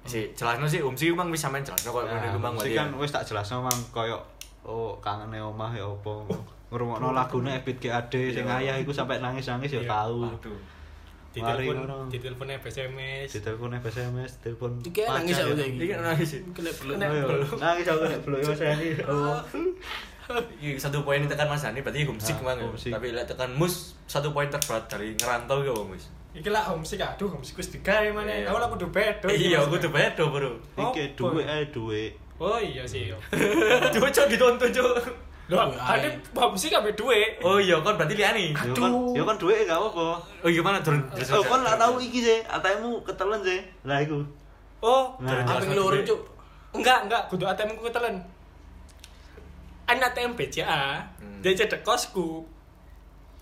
Speaker 2: Si jelasno sih homesick emang wis sampean jelasno kok ngene ku mang
Speaker 4: homesick kan wis tak jelasno mang koyo oh kangen omah ya opo ngrungokno lagune Ebit GAD sing
Speaker 2: Iya.
Speaker 4: ayah iku sampai nangis-nangis ya
Speaker 3: Iya.
Speaker 4: tau
Speaker 2: Waduh.
Speaker 4: mari
Speaker 3: Ditelepon,
Speaker 4: ngono
Speaker 3: ditelepon SMS.
Speaker 4: ditelepon SMS telepon
Speaker 1: Iki nangis
Speaker 4: pacar
Speaker 1: aku
Speaker 4: ya.
Speaker 1: saiki.
Speaker 2: Iki nangis sih.
Speaker 1: Kena belum.
Speaker 4: Oh, iya. nangis aku nek blok Mas Hani
Speaker 1: Oh.
Speaker 2: Iki satu poin tekan Mas Hanif berarti homesick
Speaker 4: Ah,
Speaker 2: mang. ya.
Speaker 4: homesick.
Speaker 2: Tapi lek tekan Mus satu poin terberat dari ngerantau ya Mus.
Speaker 3: Iki lah homesick aduh homesick wis digawe mana.
Speaker 2: Iya.
Speaker 3: Aku lah kudu bedo.
Speaker 2: Iya, aku
Speaker 3: Mas.
Speaker 2: tuh bedo, Bro.
Speaker 3: Apa?
Speaker 4: iki duit eh duit
Speaker 3: Oh iya sih.
Speaker 2: [LAUGHS]
Speaker 3: yo.
Speaker 2: Cuk, cuk dituntun, cuk.
Speaker 3: Loh,
Speaker 1: Duwe
Speaker 3: ada homesick ambek duit.
Speaker 2: Oh iya, kon berarti liani.
Speaker 4: Ya kan, ya kan duit gak apa-apa.
Speaker 2: Oh iya mana turun?
Speaker 4: Oh, kon gak tahu iki sih, atemu ketelen sih. Lah iku.
Speaker 3: Oh,
Speaker 4: Nah.
Speaker 1: Ambing loro cuk.
Speaker 3: enggak enggak kudu ATM ku ketelen. anak ATM BCA
Speaker 2: Hmm.
Speaker 3: dia cedek kosku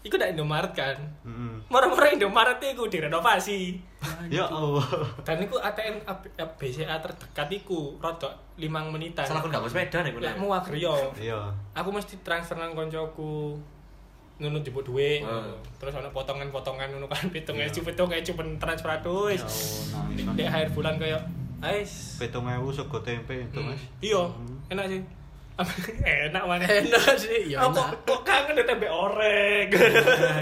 Speaker 3: iku ndak Indomaret kan
Speaker 4: Mm.
Speaker 3: moro-moro Indomaret iku direnovasi
Speaker 4: Ya Allah. [LAUGHS]
Speaker 3: dan iku ATM AB- BCA terdekat iku rodok 5 menitan
Speaker 2: Salah kon gak bawa sepeda nih
Speaker 3: lek
Speaker 2: kowe. [LAUGHS]
Speaker 3: muwagryo
Speaker 4: Iya.
Speaker 3: aku mesti transfer nang koncoku nunut jebuk duit
Speaker 2: Hmm. Ya.
Speaker 3: terus ana potongan-potongan ngono kan pitung ewu pitung ewu ben transfer aduh
Speaker 4: Ya Allah.
Speaker 3: di akhir bulan kayak ais
Speaker 4: Petong ewu sego tempe itu
Speaker 2: Hmm.
Speaker 4: mas.
Speaker 3: iya enak sih [LAUGHS] enak mana
Speaker 1: enak sih ya
Speaker 3: Aku
Speaker 1: enak
Speaker 3: kok kangen deh tempe orek [LAUGHS]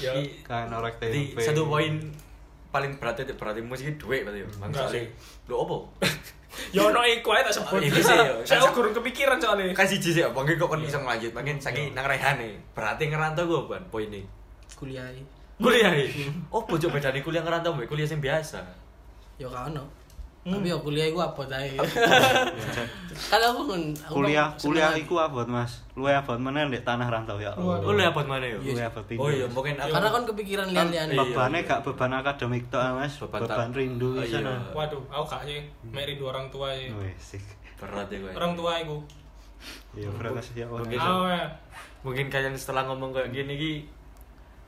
Speaker 3: ya
Speaker 4: Kan orek
Speaker 2: Di
Speaker 4: tempe.
Speaker 2: satu poin paling berat titik berat imu sih duit berarti ya.
Speaker 3: Enggak
Speaker 2: Maksudnya, lho opo?
Speaker 3: ya ono iku ae tak sebut
Speaker 2: Iki sih, ya.
Speaker 3: [LAUGHS] saya kurang kepikiran soalnya
Speaker 2: Kasih jisi ya, bangke kok kon iso lanjut. Mungkin saking nang rehan nih. Berarti ngerantau gue ban poin ini.
Speaker 1: kuliah e. iki.
Speaker 2: Kuliah iki. Opo coba bedane kuliah ngerantau mbek kuliah sing biasa.
Speaker 1: ya kan no tapi ya kuliah iku apa tae kalau aku ngun- aku
Speaker 4: Kuliah
Speaker 1: seneng
Speaker 4: kuliah
Speaker 1: lagi.
Speaker 4: iku abot mas. Lu abot mana di tanah rantau ya Allah.
Speaker 2: Lu lewat mana ya?
Speaker 4: Lu abot
Speaker 2: Oh iya,
Speaker 4: pindah.
Speaker 2: mungkin aku
Speaker 1: karena kan kepikiran lian-lian
Speaker 2: Iya,
Speaker 4: Bebannya
Speaker 2: iya.
Speaker 4: gak beban akademik toh mas.
Speaker 2: Beban
Speaker 4: Beban,
Speaker 2: tak-
Speaker 4: rindu
Speaker 2: Oh,
Speaker 4: di sana.
Speaker 2: iya.
Speaker 3: waduh aku gak sih mek rindu orang tua sih
Speaker 4: Wih, sik.
Speaker 2: berat ya gue.
Speaker 3: orang tua iku
Speaker 4: Iya berat sih ya Allah.
Speaker 2: Mungkin-
Speaker 3: Ah, ya.
Speaker 2: mungkin kalian setelah ngomong kayak gini ki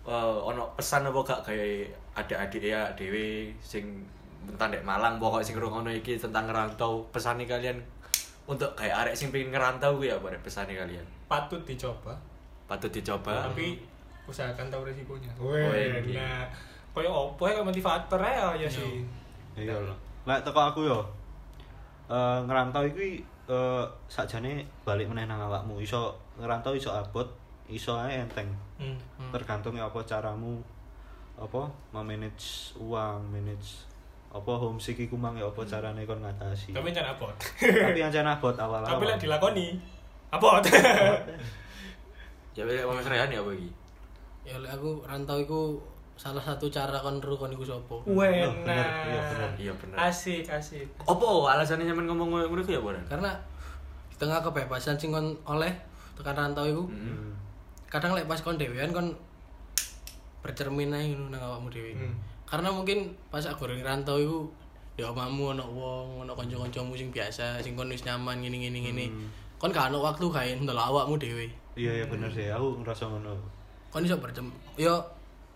Speaker 2: eh, ono pesan apa gak kayak adik-adik ya dewe sing bentar dek Malang pokok sing rungono iki tentang ngerantau pesan kalian untuk kayak arek sing pengen ngerantau gue ya bare pesan kalian
Speaker 3: patut dicoba
Speaker 2: patut dicoba
Speaker 3: tapi usahakan tahu resikonya.
Speaker 2: Weh,
Speaker 3: Wih, nah,
Speaker 2: iya.
Speaker 3: koyo opo ya motivator ya ya sih.
Speaker 4: Iya lho. Lek teko aku yo. Eh ngerantau iki eh sakjane balik meneh nang awakmu. Iso ngerantau iso abot, iso ae enteng.
Speaker 3: Hmm.
Speaker 4: Tergantung apa caramu apa memanage uang, manage apa homesick iku mang ya apa carane kon ngatasi.
Speaker 3: Hmm. Tapi jangan abot.
Speaker 4: Tapi yang jangan abot awal-awal.
Speaker 3: Tapi lah dilakoni. Abot. [LAUGHS]
Speaker 2: ya lek wong Rehan ya apa iki
Speaker 1: ya oleh aku rantau iku salah satu cara kon ru kon iku sapa
Speaker 3: Weh, nah.
Speaker 4: Iya, bener. Iya, bener.
Speaker 2: Iya, bener.
Speaker 3: Asik, asik.
Speaker 2: opo alasannya nyaman ngomong ngono ngono iku ya bare
Speaker 1: karena di tengah kebebasan sing kon oleh tekan rantau iku
Speaker 4: Hmm.
Speaker 1: kadang lek pas kon dhewean kon bercermin ae ngono nang awakmu dhewe.
Speaker 3: Hmm.
Speaker 1: Karena mungkin pas aku goreng rantau iku ya omamu ono wong, ono kanca-kancamu sing biasa, sing kon wis nyaman ngene-ngene ngene. Kon gak ono waktu kae ndelok awakmu dhewe.
Speaker 4: Iya ya bener
Speaker 3: Hmm.
Speaker 4: sih. Aku ngerasa ngono.
Speaker 1: Kon iso bercem ya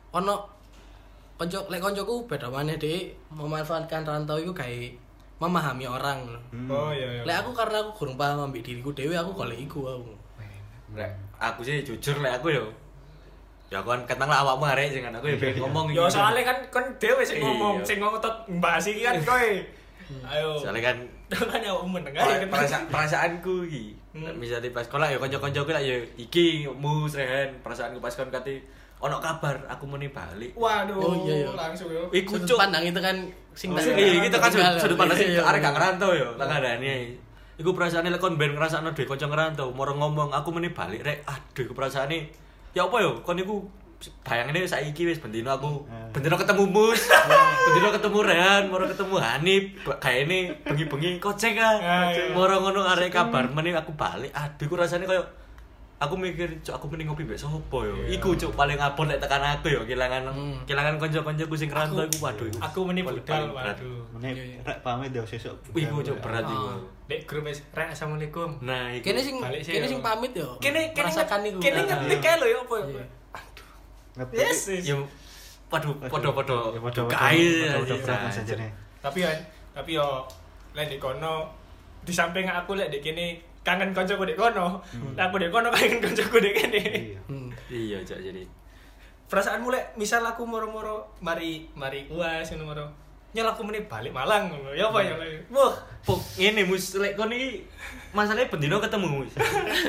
Speaker 1: ono kanca lek kancaku beda maneh dhek memanfaatkan rantau iku kae memahami orang ngono.
Speaker 3: Oh iya iya.
Speaker 1: Lek aku karena aku kurang paham ambek diriku dhewe aku golek iku aku.
Speaker 2: lek aku sih jujur lek aku yo ya aku kan ketang lah awakmu arek sing kan aku ya pengen ngomong
Speaker 3: Yo
Speaker 2: iki.
Speaker 3: soalnya kan kon dhewe sing
Speaker 2: Iya.
Speaker 3: ngomong, sing ngotot mbahas iki kan kowe. Ayo.
Speaker 2: soalnya Oh, kan
Speaker 3: [LAUGHS] Kan ya umum mendengar
Speaker 2: Pera-
Speaker 3: ya
Speaker 2: perasaan perasaanku iki.
Speaker 3: Hmm.
Speaker 2: Misalnya pas sekolah ya kanca-kancaku lah ya iki mus rehan perasaanku pas kon kate ono kabar aku mau nih balik.
Speaker 3: Waduh,
Speaker 1: Oh, iya, iya.
Speaker 3: langsung yo.
Speaker 2: Iku
Speaker 1: Sudut
Speaker 2: cuk.
Speaker 1: pandang itu kan sing
Speaker 2: Oh,
Speaker 1: tak-
Speaker 2: Iya, kita kan sudut, sudut pandang sing
Speaker 1: Iya, iya,
Speaker 2: arek
Speaker 1: iya.
Speaker 2: gak ngerantau ya, tak kandhane. Iku perasaane lek kon ben ngrasakno dhewe kanca ngerantau, moro ngomong aku meni balik rek. Aduh, iku perasaane ya apa ya kon iku bayangine saiki wis bendino aku
Speaker 4: Hmm.
Speaker 2: bendino ketemu Mus, bendino ketemu Rehan, moro ketemu Hanif, ba- kaene bengi-bengi kocek ah.
Speaker 3: Ah, iya.
Speaker 2: Moro ngono arek kabar meni aku balik. Aduh, iku rasane koyo aku mikir cuk aku mending ngopi mbek sapa yo. Iku cuk paling abot lek tekan aku yo kehilangan
Speaker 1: Hmm.
Speaker 2: kehilangan kanca-kancaku sing
Speaker 3: Aku-
Speaker 2: ngerantau iku waduh. iku
Speaker 3: Aku meni
Speaker 2: paling-
Speaker 3: budal,
Speaker 2: paling berat.
Speaker 3: waduh.
Speaker 1: Iya,
Speaker 4: Mene
Speaker 1: iya.
Speaker 4: rek pahame dia sesuk. ya.
Speaker 2: Wih, gue coba berat iku.
Speaker 1: Ah.
Speaker 3: Dek grup wis, "Rek, Assalamualaikum."
Speaker 2: Nah, iku.
Speaker 1: kene sing
Speaker 3: Balik sih,
Speaker 1: kene
Speaker 3: yo.
Speaker 1: sing pamit yo
Speaker 3: Kene
Speaker 1: Hmm.
Speaker 3: kene
Speaker 1: merasakan
Speaker 3: nge-
Speaker 1: iku
Speaker 3: kene ngetik kae lho ya apa ya.
Speaker 1: Iya.
Speaker 4: Ngetik.
Speaker 3: Yes. yes.
Speaker 2: ya padha padha padha
Speaker 4: Ya, padha-padha.
Speaker 2: kae
Speaker 4: Padha-padha
Speaker 3: iya.
Speaker 4: berat, Mas, jane.
Speaker 3: tapi ya tapi yo lek di kono di samping aku lek di kene kangen kancaku di kono Lah aku di kono kangen kancaku di kene
Speaker 4: Iya.
Speaker 1: Hmm.
Speaker 2: Iya, Cak, jadi.
Speaker 3: perasaanmu lek misal aku moro-moro mari mari uas ngono moro nyol aku meneh balik Malang ngono ya apa ya
Speaker 2: Hmm.
Speaker 3: Lek?
Speaker 2: Wah, pok ngene mus lek kon iki masalahnya bendino ketemu. Mus.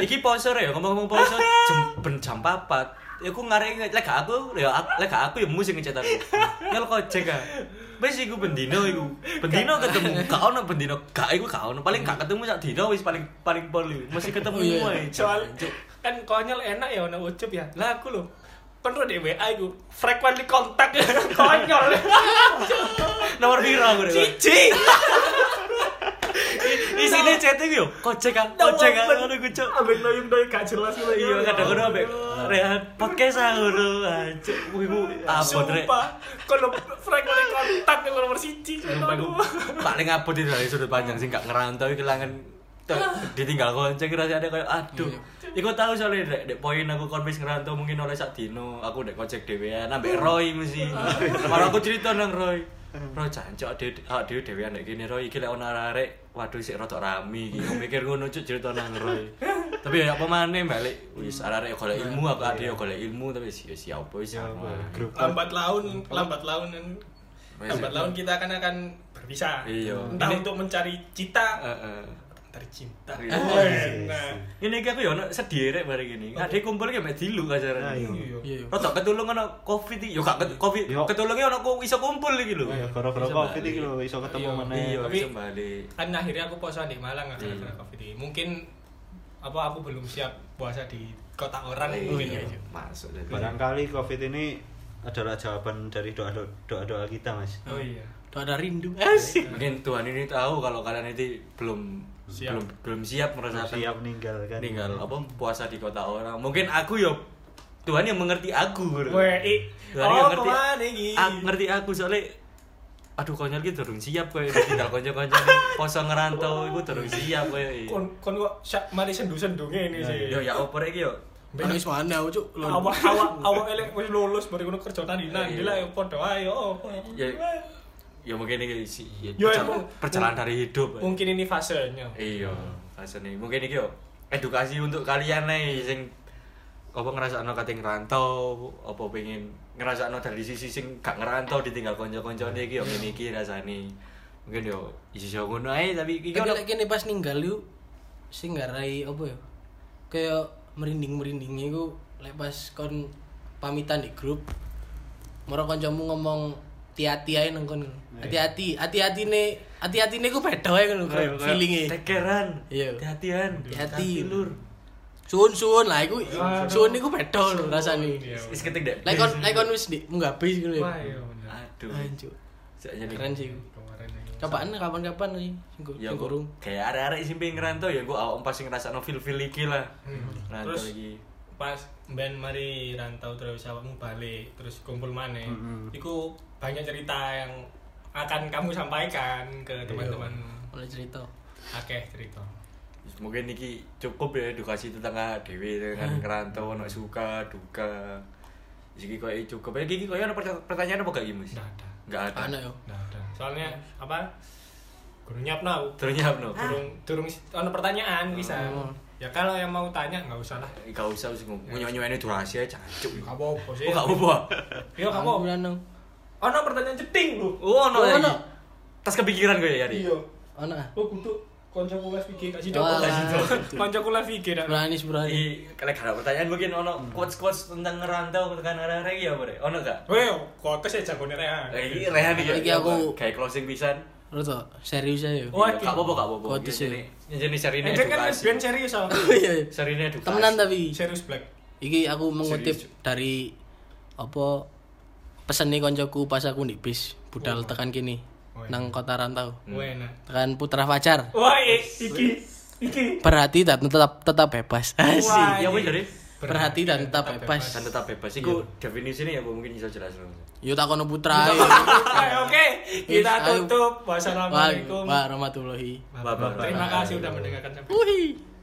Speaker 2: Iki poso ya, ngomong-ngomong poso jam ben jam 4. Ya aku ngarep lek gak aku ya aku- lek gak aku ya mus sing ngecat aku. Ngel kojek ah. Wis iku bendino iku. Bendino ketemu, gak ono bendino, gak iku gak ono. Paling gak ketemu sak dino wis paling paling polu. Mesti ketemu
Speaker 1: Oh, iya.
Speaker 2: wae.
Speaker 3: soal kan konyol enak ya ono ucup ya lah aku lho kan ro di WA iku frequently kontak [LAUGHS]
Speaker 2: [LAUGHS]
Speaker 3: konyol
Speaker 2: nomor piro aku rek?
Speaker 3: cici
Speaker 2: Isine chatting yo, kocek kan, kocek kan ngono ku cuk.
Speaker 3: Ambek noyong-noyong gak jelas ya. lho
Speaker 2: Iya kadang-kadang ambek rehat podcast aku lho, anjuk. Wih, ku abot rek.
Speaker 3: Sumpah, kalau Frank oleh kontak yang nomor siji,
Speaker 2: Sumpah, ku
Speaker 3: aduh.
Speaker 2: paling abot itu dari sudut panjang sih gak ngerantau kehilangan [LAUGHS] Ter- ditinggal gonceng rasanya kayak aduh iku tahu soalnya dek dek poin aku konvis ngerantau mungkin oleh sak dino aku dek kocek dhewean ambek Roy mesti [LAUGHS] malah aku cerita nang Roy Roy jancok dek ah dhewe dhewean dek gini Roy iki lek ono arek waduh sik rada rame iki aku mikir ngono cuk cerita nang Roy [LAUGHS] tapi ya apa maneh balik wis arek golek ilmu aku ade golek ilmu tapi sih sih apa sih
Speaker 4: Ya, grup kan.
Speaker 3: lambat laun lambat laun
Speaker 2: Eh,
Speaker 3: lambat laun kita akan akan berpisah
Speaker 2: Iya.
Speaker 3: entah untuk mencari cita
Speaker 2: Heeh.
Speaker 3: mencari cinta
Speaker 2: Iya.
Speaker 3: Oh, enak.
Speaker 2: Ini iki aku ya ono sedih rek bareng gini. Ade kumpul ki mek dilu
Speaker 4: Nah,
Speaker 2: kasarane.
Speaker 4: Ah, iya.
Speaker 3: Iya.
Speaker 1: Iya.
Speaker 2: Rodok ketulung ono Covid iki. Yo gak ket- Covid.
Speaker 4: Yo.
Speaker 2: Ketulunge ono ku iso kumpul iki lho.
Speaker 4: Ya, gara-gara
Speaker 2: Iso
Speaker 4: covid
Speaker 2: balik.
Speaker 4: iki lho iso ketemu
Speaker 3: Iya,
Speaker 4: meneh.
Speaker 2: Iya,
Speaker 3: Tapi-
Speaker 2: iso balik.
Speaker 3: kan akhirnya aku puasa di Malang nggak
Speaker 2: Iya.
Speaker 3: karena covid ini mungkin apa aku belum siap puasa di kota orang mungkin ya
Speaker 2: Iya, Masuk deh.
Speaker 4: Barangkali covid ini adalah jawaban dari doa doa doa kita mas.
Speaker 3: oh iya
Speaker 1: Tuh ada rindu.
Speaker 2: Eh,
Speaker 1: Asik.
Speaker 2: Mungkin Tuhan ini tahu kalau kalian itu belum
Speaker 3: Siap.
Speaker 2: belum belum siap merasakan
Speaker 4: Siap meninggal kan.
Speaker 2: tinggal apa puasa di kota orang. Mungkin aku yo Tuhan yang mengerti aku. lho.
Speaker 3: Wei,
Speaker 2: Tuhan
Speaker 3: oh
Speaker 2: yang ngerti.
Speaker 3: kemana ini?
Speaker 2: Aku ngerti aku soalnya aduh konyol gitu durung siap [LAUGHS] kowe ditinggal kanca-kanca poso ngerantau iku durung siap kowe.
Speaker 3: kon kon kok syak mari sendu-sendunge ini sih.
Speaker 2: Yo ya opo rek iki yo.
Speaker 1: Ben wis mandi aku cuk. Lon.
Speaker 3: Awak awak awak elek wis lulus baru ngono kerja taninan,
Speaker 2: Iya.
Speaker 3: gila ya padha ae yo.
Speaker 2: Ya ya mungkin ini si ya,
Speaker 3: Yo,
Speaker 2: perja-
Speaker 3: emang-
Speaker 2: perjalanan dari hidup.
Speaker 3: Mungkin ini fasenya.
Speaker 2: Iya, rasane mungkin iki yo edukasi untuk kalian nih sing apa ngrasakno kate ngerantau, apa pengen ngrasakno dari sisi sing gak ngerantau ditinggal kanca-kancane iki yo ngene iki rasane. Mungkin yo iso ngono ae tapi iki
Speaker 1: Iki
Speaker 2: ono
Speaker 1: lek kene pas ninggal iku sing garai apa ya? Kayak merinding-merinding iku lek pas kon pamitan di grup moro kancamu ngomong hati-hati ae nang kon. Hati-hati, hati-hatine, hati-hatine ku beda ae ngono
Speaker 2: Kayak- kayak
Speaker 1: feelinge.
Speaker 2: tekeran
Speaker 1: Iya.
Speaker 2: hati-hatian
Speaker 1: Hati-hati.
Speaker 2: lur
Speaker 1: Suun-suun lah iku. Suun iku beda lho rasane.
Speaker 3: Iya.
Speaker 2: wis ketik dek
Speaker 1: Lek kon lek kon wis di munggabis ngono ya.
Speaker 3: Wah, iya bener.
Speaker 2: aduh
Speaker 1: Anjuk.
Speaker 2: Sakjane iki.
Speaker 1: Keren sih. iku.
Speaker 3: Kemarin ini.
Speaker 1: Cobaan kapan-kapan sih sing go-
Speaker 2: ya
Speaker 1: sing
Speaker 2: gua
Speaker 1: kurung.
Speaker 2: kayak arek-arek sing pengen ngerantau ya gua awak pas ngrasakno feel-feel iki lah
Speaker 3: Hmm.
Speaker 2: ngerantau
Speaker 3: Terus
Speaker 2: iki
Speaker 3: pas ben mari rantau terus awakmu balik terus kumpul maneh. Iku banyak cerita yang akan kamu sampaikan ke teman-teman.
Speaker 1: Oleh cerita.
Speaker 3: Akeh cerita.
Speaker 2: mungkin iki cukup ya edukasi tentang ah, dhewe dengan ngerantau ono suka duka iki koyo cukup Ya, iki koyo ono perta- pertanyaan apa gak iki Mas
Speaker 3: Nggak ada.
Speaker 2: enggak ada
Speaker 1: Nah. Ana yo.
Speaker 3: Nggak ada. Soalnya apa? Guru nyapna aku.
Speaker 1: Ah.
Speaker 2: ternyap no
Speaker 3: turung turung ono pertanyaan bisa ya kalau yang mau tanya nggak usah lah
Speaker 2: gak usah sing
Speaker 1: Iya.
Speaker 2: nyonyo ini durasi aja jancuk
Speaker 3: Ya, Gak apa-apa Iya. sih
Speaker 2: Oh, gak apa-apa.
Speaker 3: yo gak
Speaker 1: Kamu
Speaker 3: apa-apa
Speaker 1: nang.
Speaker 3: ono pertanyaan jeding lu
Speaker 2: Oh, ono.
Speaker 1: Oh,
Speaker 2: lagi.
Speaker 1: ono.
Speaker 2: Tas kepikiran gue ya, Yari.
Speaker 3: iya
Speaker 1: Ana. ah.
Speaker 3: oh kudu koncoku live IG kasih dong [LAUGHS]
Speaker 1: Walah. Nah.
Speaker 3: kasih dong koncoku live IG dak
Speaker 1: Beranis beranis.
Speaker 2: Jadi, kalau ada pertanyaan mungkin ono quotes-quotes tentang ngerantau tekan arah-arah iki ya, Bre. Ono gak?
Speaker 3: Weh, kok kes aja gone rea.
Speaker 2: Eh, Iki Rehan iki.
Speaker 1: Iki aku-
Speaker 2: kayak closing pisan.
Speaker 1: Roto, serius aja yuk.
Speaker 3: Oh,
Speaker 2: Iya,
Speaker 3: iki.
Speaker 2: Gak apa-apa, gak apa-apa.
Speaker 1: Quotes ya.
Speaker 2: Jadi seri ini
Speaker 3: Eh, dia kan
Speaker 2: edukasi.
Speaker 3: ben serius ah.
Speaker 1: Iya.
Speaker 2: Seri ini edukasi.
Speaker 1: Temenan tapi
Speaker 3: Serius black.
Speaker 1: iki aku mengutip
Speaker 2: Serius,
Speaker 1: dari apa pesan nih koncoku pas aku di bis budal tekan kini
Speaker 3: Oh, iya.
Speaker 1: nang kota rantau
Speaker 2: Hmm.
Speaker 3: Wah enak.
Speaker 1: tekan putra fajar
Speaker 3: Wah, eh, iki iki. [LAUGHS]
Speaker 1: berhati dan tetap tetap bebas asik
Speaker 3: Wah,
Speaker 2: Ya, apa
Speaker 3: iki.
Speaker 2: jadi?
Speaker 1: berhati dan tetap bebas
Speaker 2: Dan tetap bebas. Iku definisinya ya Bu, mungkin bisa jelas loh.
Speaker 1: yuk takono putra ayo.
Speaker 3: Oke, Oke,
Speaker 1: Yes,
Speaker 3: kita
Speaker 1: ayo.
Speaker 3: tutup. Wassalamualaikum.
Speaker 1: Waalaikumsalam warahmatullahi
Speaker 2: Bapak.
Speaker 3: Terima kasih udah mendengarkan sampai
Speaker 1: Wuhi.